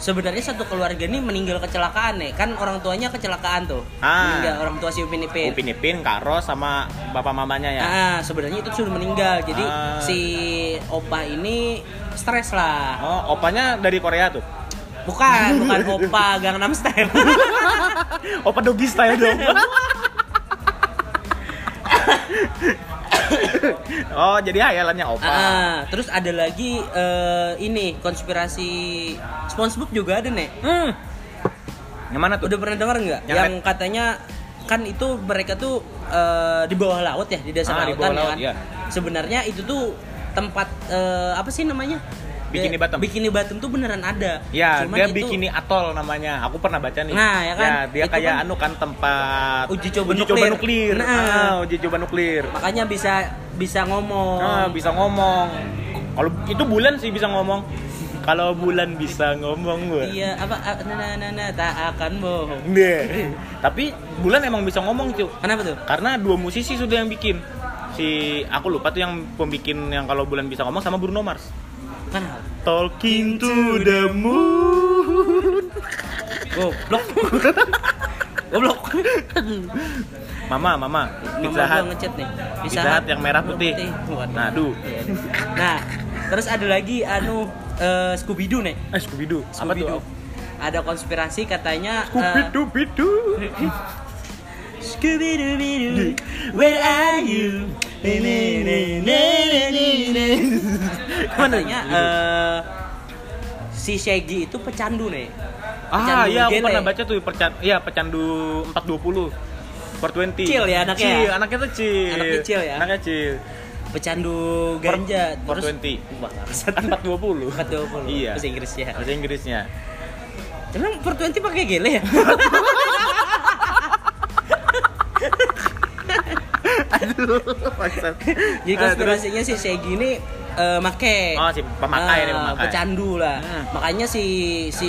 [SPEAKER 2] sebenarnya satu keluarga ini meninggal kecelakaan nih. Kan orang tuanya kecelakaan tuh.
[SPEAKER 1] Ah.
[SPEAKER 2] Meninggal orang tua si Upin Ipin.
[SPEAKER 1] Upin Ipin, Kak Ros sama bapak mamanya ya.
[SPEAKER 2] Ah, sebenarnya itu sudah meninggal. Jadi
[SPEAKER 1] Ah.
[SPEAKER 2] si opa ini stres lah.
[SPEAKER 1] Oh, opanya dari Korea tuh.
[SPEAKER 2] Bukan, bukan opa Gangnam Style.
[SPEAKER 1] Opa Dogi style dong. oh jadi hayalannya opa
[SPEAKER 2] Ah, terus ada lagi eh, ini konspirasi SpongeBob juga ada nek.
[SPEAKER 1] hmm. yang mana tuh
[SPEAKER 2] Udah pernah dengar nggak?
[SPEAKER 1] Yang
[SPEAKER 2] Yang, katanya kan itu mereka tuh eh, di bawah laut ya di
[SPEAKER 1] Ah,
[SPEAKER 2] dasar
[SPEAKER 1] di bawah
[SPEAKER 2] lautan
[SPEAKER 1] laut,
[SPEAKER 2] kan.
[SPEAKER 1] iya.
[SPEAKER 2] Sebenarnya itu tuh tempat eh, apa sih namanya?
[SPEAKER 1] Bikini
[SPEAKER 2] Eh,
[SPEAKER 1] Bottom.
[SPEAKER 2] Bikini Bottom tuh beneran ada.
[SPEAKER 1] Ya,
[SPEAKER 2] Cuman
[SPEAKER 1] dia
[SPEAKER 2] itu
[SPEAKER 1] bikini atol namanya. Aku pernah baca nih.
[SPEAKER 2] Nah, ya kan?
[SPEAKER 1] dia
[SPEAKER 2] Itu
[SPEAKER 1] kayak
[SPEAKER 2] kan
[SPEAKER 1] anu kan tempat
[SPEAKER 2] uji coba nuklir.
[SPEAKER 1] nuklir.
[SPEAKER 2] Nah.
[SPEAKER 1] Ah, uji coba nuklir.
[SPEAKER 2] Makanya bisa bisa ngomong.
[SPEAKER 1] Ah, bisa ngomong. Kalau itu bulan sih bisa ngomong. Kalau bulan bisa ngomong gua.
[SPEAKER 2] Iya, apa a- na na na, na tak akan bohong.
[SPEAKER 1] Iya. Tapi bulan emang bisa ngomong, cuy.
[SPEAKER 2] Kenapa tuh?
[SPEAKER 1] Karena dua musisi sudah yang bikin. Si aku lupa tuh yang pembikin yang kalau bulan bisa ngomong sama Bruno Mars.
[SPEAKER 2] Kenapa?
[SPEAKER 1] Talking to the moon.
[SPEAKER 2] Goblok. Goblok.
[SPEAKER 1] Mama, mama,
[SPEAKER 2] Mama
[SPEAKER 1] pizza
[SPEAKER 2] gua
[SPEAKER 1] Hut.
[SPEAKER 2] ngechat nih.
[SPEAKER 1] Pizza Hut yang merah putih.
[SPEAKER 2] Waduh.
[SPEAKER 1] Nah, aduh.
[SPEAKER 2] Iya. Nah, terus ada lagi anu eh, Scooby Doo nih.
[SPEAKER 1] Eh, Scooby Doo. Apa
[SPEAKER 2] Scooby
[SPEAKER 1] tuh?
[SPEAKER 2] Doo. Ada konspirasi katanya eh,
[SPEAKER 1] Scooby Doo,
[SPEAKER 2] Scooby Doo Where are you? Katanya eh, si Shaggy itu pecandu nih.
[SPEAKER 1] Ah,
[SPEAKER 2] pecandu
[SPEAKER 1] iya aku
[SPEAKER 2] gele.
[SPEAKER 1] pernah baca tuh percan iya pecandu 420. 420.
[SPEAKER 2] Chill ya anaknya ya?
[SPEAKER 1] Chill, anaknya tuh chill.
[SPEAKER 2] Anaknya chill ya?
[SPEAKER 1] Anaknya chill.
[SPEAKER 2] Pecandu ganja terus
[SPEAKER 1] 420.
[SPEAKER 2] Wah, bangsat.
[SPEAKER 1] Kan 420.
[SPEAKER 2] 420.
[SPEAKER 1] Iya.
[SPEAKER 2] Bahasa Inggris ya.
[SPEAKER 1] Bahasa Inggrisnya.
[SPEAKER 2] Emang 420 pakai gele ya?
[SPEAKER 1] Aduh, maksud.
[SPEAKER 2] Jadi konspirasinya si Segi ini eh, make.
[SPEAKER 1] Eh, Oh, si pemakai
[SPEAKER 2] Ah,
[SPEAKER 1] nih, pemakai.
[SPEAKER 2] Pecandu lah.
[SPEAKER 1] Hmm.
[SPEAKER 2] Makanya si si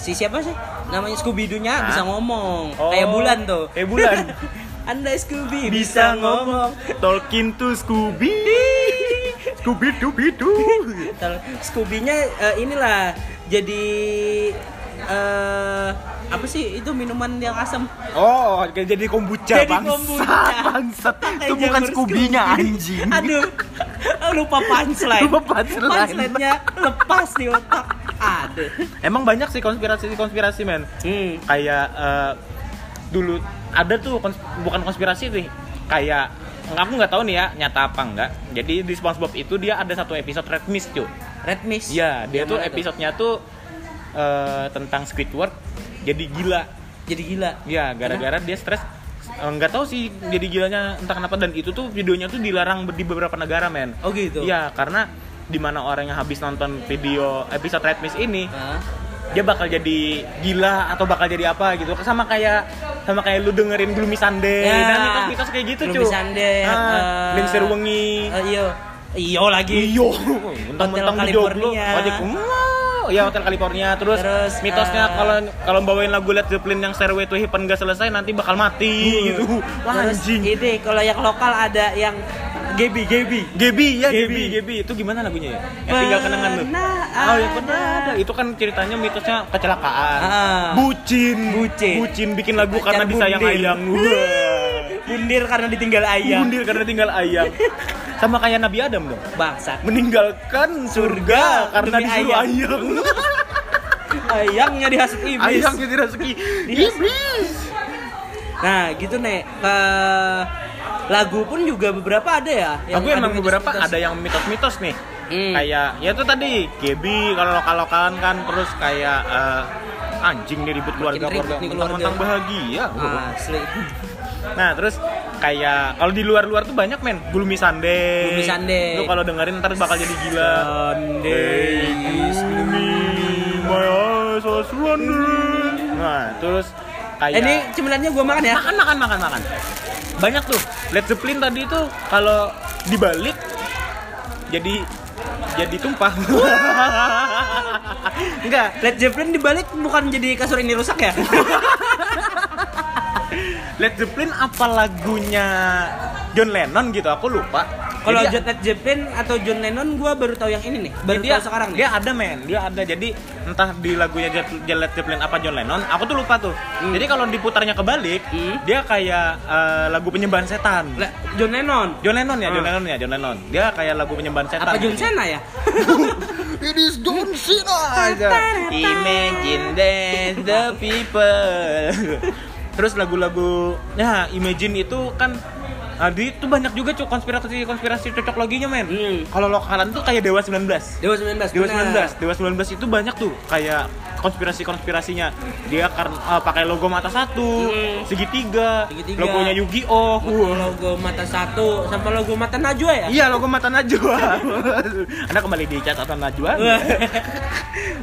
[SPEAKER 2] si siapa sih? Namanya Scooby Doo-nya
[SPEAKER 1] Hah?
[SPEAKER 2] bisa ngomong.
[SPEAKER 1] Oh,
[SPEAKER 2] Kayak bulan tuh.
[SPEAKER 1] kayak bulan.
[SPEAKER 2] Anda Scooby
[SPEAKER 1] bisa ngomong. Talking to Scooby. Scooby Doo Doo.
[SPEAKER 2] Ter- Scooby-nya eh, inilah jadi eh apa sih itu minuman yang asam?
[SPEAKER 1] Oh, kayak jadi kombucha
[SPEAKER 2] Jadi kombucha.
[SPEAKER 1] bangsat, bangsat.
[SPEAKER 2] Pakai
[SPEAKER 1] Itu bukan
[SPEAKER 2] jamur
[SPEAKER 1] Scooby-nya
[SPEAKER 2] Scooby.
[SPEAKER 1] anjing.
[SPEAKER 2] Aduh, lupa punchline.
[SPEAKER 1] Lupa punchline.
[SPEAKER 2] Punchline-nya lepas di otak. Aduh.
[SPEAKER 1] Emang banyak sih konspirasi-konspirasi, men.
[SPEAKER 2] Hmm.
[SPEAKER 1] Kayak eh, dulu ada tuh kons- bukan konspirasi sih. Kayak aku nggak tahu nih ya nyata apa enggak. Jadi di SpongeBob itu dia ada satu episode Red Mist, cuy.
[SPEAKER 2] Red Mist.
[SPEAKER 1] Iya, dia
[SPEAKER 2] Yang
[SPEAKER 1] tuh
[SPEAKER 2] mana
[SPEAKER 1] episodenya tuh eh, tentang Squidward jadi gila.
[SPEAKER 2] Jadi gila.
[SPEAKER 1] Ya, gara-gara dia stres Eh, nggak tahu sih jadi gilanya entah kenapa dan itu tuh videonya tuh dilarang di beberapa negara men
[SPEAKER 2] Oh gitu.
[SPEAKER 1] Iya, karena di mana orang yang habis nonton video episode Red Mist ini,
[SPEAKER 2] Hah?
[SPEAKER 1] dia bakal jadi gila atau bakal jadi apa gitu. Sama kayak sama kayak lu dengerin Gloomy Sunday
[SPEAKER 2] Ya.
[SPEAKER 1] dan mitos-mitos kayak gitu,
[SPEAKER 2] Gloomy Sunday, eh,
[SPEAKER 1] Ah, Lingser Wengi.
[SPEAKER 2] Eh, iyo. Iyo lagi.
[SPEAKER 1] Iyo, mentang-mentang
[SPEAKER 2] Hotel
[SPEAKER 1] di Joglo,
[SPEAKER 2] California.
[SPEAKER 1] ojek wow. Ya Hotel California terus,
[SPEAKER 2] Terus,
[SPEAKER 1] mitosnya
[SPEAKER 2] eh,
[SPEAKER 1] kalau kalau bawain lagu Led Zeppelin yang Stairway to Heaven gak selesai nanti bakal mati gitu. Wah,
[SPEAKER 2] Hmm. Terus
[SPEAKER 1] anjing.
[SPEAKER 2] Ini kalau yang lokal ada yang Gebi Gebi.
[SPEAKER 1] Gebi ya
[SPEAKER 2] Gebi.
[SPEAKER 1] Gebi Gebi itu gimana lagunya ya? Yang tinggal kenangan lu.
[SPEAKER 2] Pernah
[SPEAKER 1] Oh yang pernah
[SPEAKER 2] ada.
[SPEAKER 1] ada. Itu kan ceritanya mitosnya kecelakaan.
[SPEAKER 2] Ah.
[SPEAKER 1] Bucin,
[SPEAKER 2] Bucin.
[SPEAKER 1] bucin bikin lagu karena
[SPEAKER 2] Pacar
[SPEAKER 1] disayang
[SPEAKER 2] bundir.
[SPEAKER 1] ayang.
[SPEAKER 2] Bundir karena ditinggal
[SPEAKER 1] Iya.
[SPEAKER 2] ayam.
[SPEAKER 1] Bundir karena tinggal ayam. Sama kayak Nabi Adam dong.
[SPEAKER 2] Bangsat.
[SPEAKER 1] Meninggalkan surga karena
[SPEAKER 2] demi
[SPEAKER 1] disuruh
[SPEAKER 2] ayam.
[SPEAKER 1] ayang.
[SPEAKER 2] Ayamnya dihasut iblis.
[SPEAKER 1] Ayam jadi rezeki. Iblis.
[SPEAKER 2] Nah, gitu Nek. Eh, lagu pun juga beberapa ada ya. yang
[SPEAKER 1] Aku
[SPEAKER 2] ada
[SPEAKER 1] emang beberapa
[SPEAKER 2] mitos-mitos.
[SPEAKER 1] ada yang mitos-mitos nih.
[SPEAKER 2] Hmm.
[SPEAKER 1] Kayak ya itu tadi Gebi kalau lokal-lokalan kan terus kayak eh, anjing nih ribut keluarga-keluarga
[SPEAKER 2] ribut nih
[SPEAKER 1] mentang-mentang
[SPEAKER 2] keluarga. Ah.
[SPEAKER 1] bahagia.
[SPEAKER 2] Asli.
[SPEAKER 1] Nah, terus kayak kalau di luar-luar tuh banyak men, Gloomy Sunday.
[SPEAKER 2] Gloomy Sunday.
[SPEAKER 1] Lu kalau dengerin ntar bakal jadi gila.
[SPEAKER 2] Sunday is gloomy.
[SPEAKER 1] my eyes are wandering. Nah, terus kayak
[SPEAKER 2] Eh, Ini cemilannya gua makan ya.
[SPEAKER 1] makan makan makan makan. Banyak tuh. Led Zeppelin tadi tuh kalau dibalik jadi jadi tumpah. Enggak,
[SPEAKER 2] Led Zeppelin dibalik bukan jadi kasur ini rusak ya?
[SPEAKER 1] Led Zeppelin apa lagunya John Lennon gitu, aku lupa.
[SPEAKER 2] Kalau
[SPEAKER 1] Jadi-
[SPEAKER 2] John Led Zeppelin atau John Lennon gua baru tahu yang Iya. ini nih. Baru
[SPEAKER 1] dia
[SPEAKER 2] tahu sekarang nih.
[SPEAKER 1] dia ada men dia ada jadi entah di lagunya Jet- Jet Led Zeppelin apa John Lennon aku tuh lupa tuh jadi kalau diputarnya kebalik
[SPEAKER 2] Hmm.
[SPEAKER 1] dia kayak eh, lagu penyembahan setan
[SPEAKER 2] Le- John Lennon.
[SPEAKER 1] John Lennon ya
[SPEAKER 2] Hmm.
[SPEAKER 1] John Lennon ya John Lennon dia kayak lagu penyembahan setan
[SPEAKER 2] Apa John Cena ya?
[SPEAKER 1] it is John Cena imagine that the people terus lagu-lagu ya imagine itu kan Adi tuh banyak juga cuk konspirasi-konspirasi cocok loginya men.
[SPEAKER 2] Hmm.
[SPEAKER 1] Kalau lokalan tuh kayak Dewa 19.
[SPEAKER 2] Dewa 19.
[SPEAKER 1] Dewa
[SPEAKER 2] benar.
[SPEAKER 1] 19, Dewa 19 itu banyak tuh kayak konspirasi-konspirasinya. Dia karena pakai logo mata satu,
[SPEAKER 2] Hmm.
[SPEAKER 1] segitiga,
[SPEAKER 2] Segitiga.
[SPEAKER 1] logonya Yu-Gi-Oh.
[SPEAKER 2] Logo- Logo mata satu sampai logo mata Najwa ya?
[SPEAKER 1] Iya, logo mata Najwa. Anda kembali di catatan Najwa.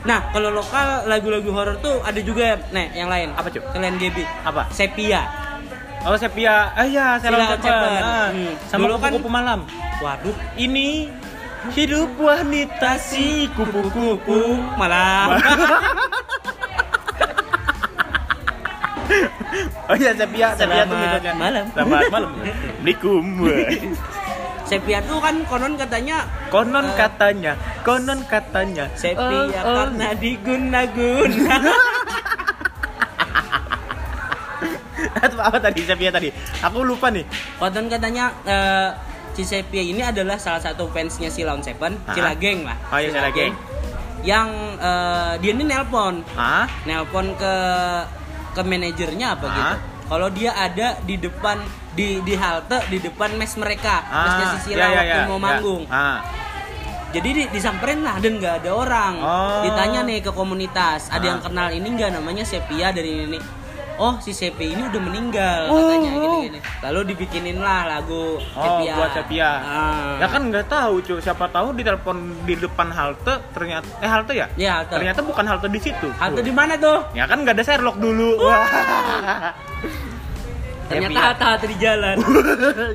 [SPEAKER 2] nah, kalau lokal lagu-lagu horor tuh ada juga nih yang lain.
[SPEAKER 1] Apa, Cuk?
[SPEAKER 2] Selain GB.
[SPEAKER 1] Apa?
[SPEAKER 2] Sepia.
[SPEAKER 1] Oh, Sepia. Ah iya, Selam
[SPEAKER 2] Silakan,
[SPEAKER 1] Cepen.
[SPEAKER 2] Cepen.
[SPEAKER 1] Ah,
[SPEAKER 2] Hmm.
[SPEAKER 1] Sama
[SPEAKER 2] Dulu kan-
[SPEAKER 1] kupu-kupu malam.
[SPEAKER 2] Waduh,
[SPEAKER 1] Ini hidup wanita si kupu-kupu.
[SPEAKER 2] malah
[SPEAKER 1] Oh iya, Sepia, Sepia tuh
[SPEAKER 2] Selamat
[SPEAKER 1] misalnya.
[SPEAKER 2] malam.
[SPEAKER 1] Selamat malam. Assalamualaikum.
[SPEAKER 2] Sepia tuh kan konon katanya Ah.
[SPEAKER 1] konon katanya, konon katanya.
[SPEAKER 2] Sepia
[SPEAKER 1] oh, oh.
[SPEAKER 2] karena diguna-guna.
[SPEAKER 1] Apa, apa tadi Sepia tadi? Aku lupa nih.
[SPEAKER 2] konon katanya eh, si Sepia ini adalah salah satu fansnya si Lawn Seven,
[SPEAKER 1] Ah.
[SPEAKER 2] Cilageng lah.
[SPEAKER 1] Oh iya, Cilageng.
[SPEAKER 2] Yang eh, dia ini nelpon,
[SPEAKER 1] Hah?
[SPEAKER 2] nelpon ke ke manajernya apa
[SPEAKER 1] Ah.
[SPEAKER 2] gitu. Kalau dia ada di depan di di halte di depan mes mereka, mesnya si
[SPEAKER 1] iya,
[SPEAKER 2] Sila
[SPEAKER 1] iya,
[SPEAKER 2] waktu
[SPEAKER 1] iya,
[SPEAKER 2] mau
[SPEAKER 1] iya.
[SPEAKER 2] manggung.
[SPEAKER 1] Ah.
[SPEAKER 2] Jadi di- disamperin lah dan nggak ada orang.
[SPEAKER 1] Oh.
[SPEAKER 2] Ditanya nih ke komunitas, ada
[SPEAKER 1] Ah.
[SPEAKER 2] yang kenal ini nggak namanya Sepia dari ini. ini. Oh si Sepia ini udah meninggal
[SPEAKER 1] Oh,
[SPEAKER 2] katanya
[SPEAKER 1] oh.
[SPEAKER 2] gini-gini. Lalu dibikinin lah lagu
[SPEAKER 1] Oh,
[SPEAKER 2] Sepia.
[SPEAKER 1] buat Sepia.
[SPEAKER 2] Ah.
[SPEAKER 1] Ya kan nggak tahu, cuy. Siapa tahu ditelepon di depan halte ternyata eh halte ya?
[SPEAKER 2] Iya, halte.
[SPEAKER 1] Ternyata bukan halte di situ. Tuh.
[SPEAKER 2] Halte di mana tuh?
[SPEAKER 1] Ya kan nggak ada Sherlock dulu. Wah.
[SPEAKER 2] Ternyata
[SPEAKER 1] Sepia.
[SPEAKER 2] halte halte di jalan.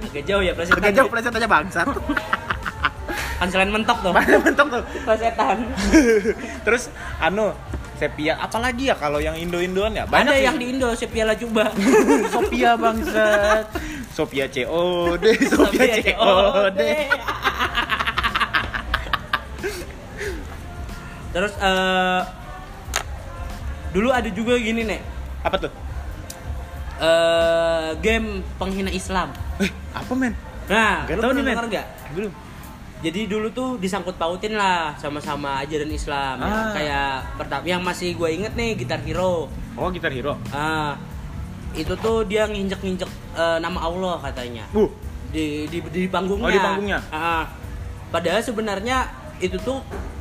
[SPEAKER 2] Agak jauh ya plesetan.
[SPEAKER 1] Agak jauh pleset aja bangsat.
[SPEAKER 2] Kanselan mentok tuh.
[SPEAKER 1] Mana mentok tuh.
[SPEAKER 2] Plesetan.
[SPEAKER 1] Terus anu sepia apalagi ya kalau yang Indo-Indoan ya?
[SPEAKER 2] Ada
[SPEAKER 1] sih.
[SPEAKER 2] yang di Indo Sepia Lacuba.
[SPEAKER 1] Sophia bangsat. Sophia COD, Sophia
[SPEAKER 2] Sophia
[SPEAKER 1] COD.
[SPEAKER 2] Terus eh dulu ada juga gini nek
[SPEAKER 1] Apa tuh?
[SPEAKER 2] eh game penghina Islam.
[SPEAKER 1] Eh, apa men?
[SPEAKER 2] Nah,
[SPEAKER 1] Nggak
[SPEAKER 2] lu
[SPEAKER 1] tahu
[SPEAKER 2] pernah
[SPEAKER 1] nih, men.
[SPEAKER 2] denger nggak?
[SPEAKER 1] Belum.
[SPEAKER 2] Jadi dulu tuh disangkut pautin lah sama-sama ajaran Islam ya.
[SPEAKER 1] Ah.
[SPEAKER 2] Kayak pertama yang masih gue inget nih Gitar Hero.
[SPEAKER 1] Oh, gitar hero.
[SPEAKER 2] Ah, itu tuh dia nginjek-nginjek eh, nama Allah katanya.
[SPEAKER 1] Uh,
[SPEAKER 2] di di di
[SPEAKER 1] Oh,
[SPEAKER 2] panggungnya.
[SPEAKER 1] di panggungnya.
[SPEAKER 2] Ah, ah. padahal sebenarnya itu tuh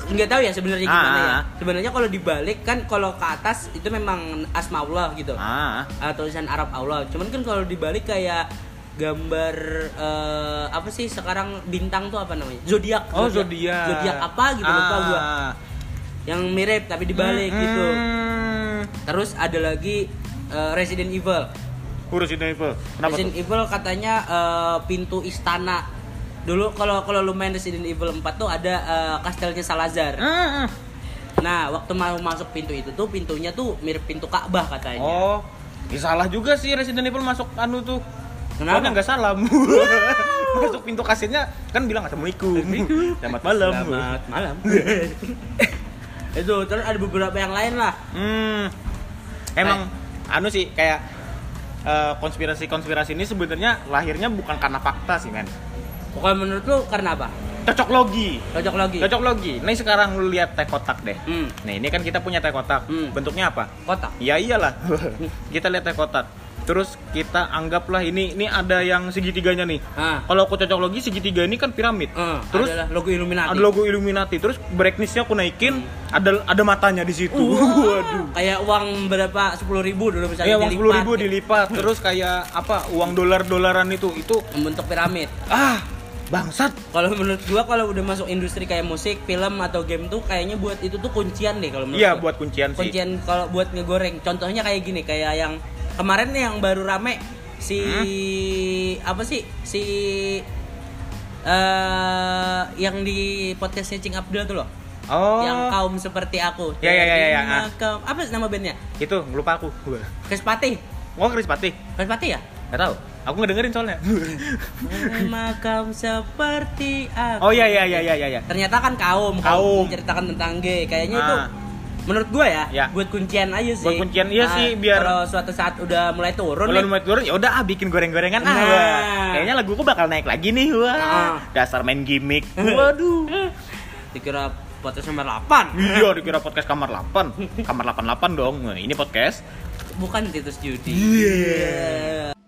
[SPEAKER 2] nggak tahu ya sebenarnya gimana
[SPEAKER 1] Ah,
[SPEAKER 2] ya.
[SPEAKER 1] ah.
[SPEAKER 2] Sebenarnya kalau dibalik kan kalau ke atas itu memang asmaullah gitu.
[SPEAKER 1] ah.
[SPEAKER 2] Ah, tulisan Arab Allah. Cuman kan kalau dibalik kayak gambar eh, apa sih sekarang bintang tuh apa namanya? Zodiak.
[SPEAKER 1] Oh, zodiak. Ah.
[SPEAKER 2] Zodiak apa gitu lupa gua. Yang mirip tapi dibalik
[SPEAKER 1] Hmm,
[SPEAKER 2] gitu. Terus ada lagi eh, Resident Evil.
[SPEAKER 1] Urus itu Evil. Kenapa
[SPEAKER 2] Resident
[SPEAKER 1] tuh?
[SPEAKER 2] Evil katanya eh, pintu istana. Dulu kalau kalau lu main Resident Evil 4 tuh ada eh, kastelnya Salazar.
[SPEAKER 1] Hmm, hmm.
[SPEAKER 2] Nah, waktu mau masuk pintu itu tuh pintunya tuh mirip pintu Ka'bah katanya.
[SPEAKER 1] Oh, ya salah juga sih Resident Evil masuk anu tuh.
[SPEAKER 2] Kenapa?
[SPEAKER 1] Soalnya nggak salam. masuk pintu kasirnya kan bilang assalamualaikum. Selamat malam.
[SPEAKER 2] Selamat malam. itu terus ada beberapa yang lain lah.
[SPEAKER 1] Hmm. Emang anu sih kayak eh, konspirasi-konspirasi ini sebenarnya lahirnya bukan karena fakta sih men.
[SPEAKER 2] Pokoknya menurut lu karena apa?
[SPEAKER 1] Cocok logi.
[SPEAKER 2] Cocok lagi.
[SPEAKER 1] Cocok logi. Nih sekarang lu lihat teh kotak deh.
[SPEAKER 2] Hmm.
[SPEAKER 1] Nih ini kan kita punya teh kotak.
[SPEAKER 2] Hmm.
[SPEAKER 1] Bentuknya apa?
[SPEAKER 2] Kotak.
[SPEAKER 1] Ya iyalah. kita lihat teh kotak. Terus kita anggaplah ini ini ada yang segitiganya nih.
[SPEAKER 2] Ah.
[SPEAKER 1] Nah, Kalau aku cocok logi segitiga ini kan piramid.
[SPEAKER 2] Eh,
[SPEAKER 1] Terus
[SPEAKER 2] adalah logo Illuminati.
[SPEAKER 1] ada logo Illuminati. Terus brightness-nya aku naikin, ada ada matanya di situ. Waduh.
[SPEAKER 2] Kayak uang berapa? 10.000 ribu dulu misalnya
[SPEAKER 1] Iya uang sepuluh
[SPEAKER 2] dilipat. ya?
[SPEAKER 1] ribu dilipat terus kayak apa uang dolar dolaran itu itu
[SPEAKER 2] membentuk piramid.
[SPEAKER 1] ah bangsat
[SPEAKER 2] Kalau menurut gua kalau udah masuk industri kayak musik, film atau game tuh kayaknya buat itu tuh kuncian deh kalau menurut
[SPEAKER 1] iya
[SPEAKER 2] gua.
[SPEAKER 1] buat kuncian sih
[SPEAKER 2] kuncian kalau buat ngegoreng. Contohnya kayak gini, kayak yang kemarin nih yang baru rame si
[SPEAKER 1] Hmm?
[SPEAKER 2] apa sih? Si eh yang di podcastnya Cing Abdul tuh loh.
[SPEAKER 1] oh
[SPEAKER 2] Yang kaum seperti aku.
[SPEAKER 1] Ya, ya, ya, ya, ya.
[SPEAKER 2] Yang kaum- apa sih nama bandnya?
[SPEAKER 1] itu lupa aku Wah.
[SPEAKER 2] Kespati.
[SPEAKER 1] Wah Chris Patih
[SPEAKER 2] Kespati ya?
[SPEAKER 1] nggak tahu aku nggak dengerin soalnya
[SPEAKER 2] Nama kaum seperti
[SPEAKER 1] oh
[SPEAKER 2] aku.
[SPEAKER 1] iya iya iya iya iya
[SPEAKER 2] ternyata kan kaum
[SPEAKER 1] Kaum.
[SPEAKER 2] menceritakan tentang gay kayaknya
[SPEAKER 1] Ah.
[SPEAKER 2] itu menurut gue ya,
[SPEAKER 1] Ya.
[SPEAKER 2] buat kuncian aja sih
[SPEAKER 1] Buat kuncian, iya
[SPEAKER 2] Nah,
[SPEAKER 1] sih, biar-
[SPEAKER 2] kalau suatu saat udah mulai turun
[SPEAKER 1] kalau
[SPEAKER 2] nih,
[SPEAKER 1] mau turun ya udah ah bikin goreng-gorengan ah
[SPEAKER 2] Nah.
[SPEAKER 1] Wah. kayaknya laguku bakal naik lagi nih wah
[SPEAKER 2] Ah. Eh.
[SPEAKER 1] dasar main gimmick waduh
[SPEAKER 2] dikira podcast nomor 8
[SPEAKER 1] iya dikira podcast kamar 8 kamar 88 dong Nah, ini podcast
[SPEAKER 2] bukan Titus Judi
[SPEAKER 1] Iya.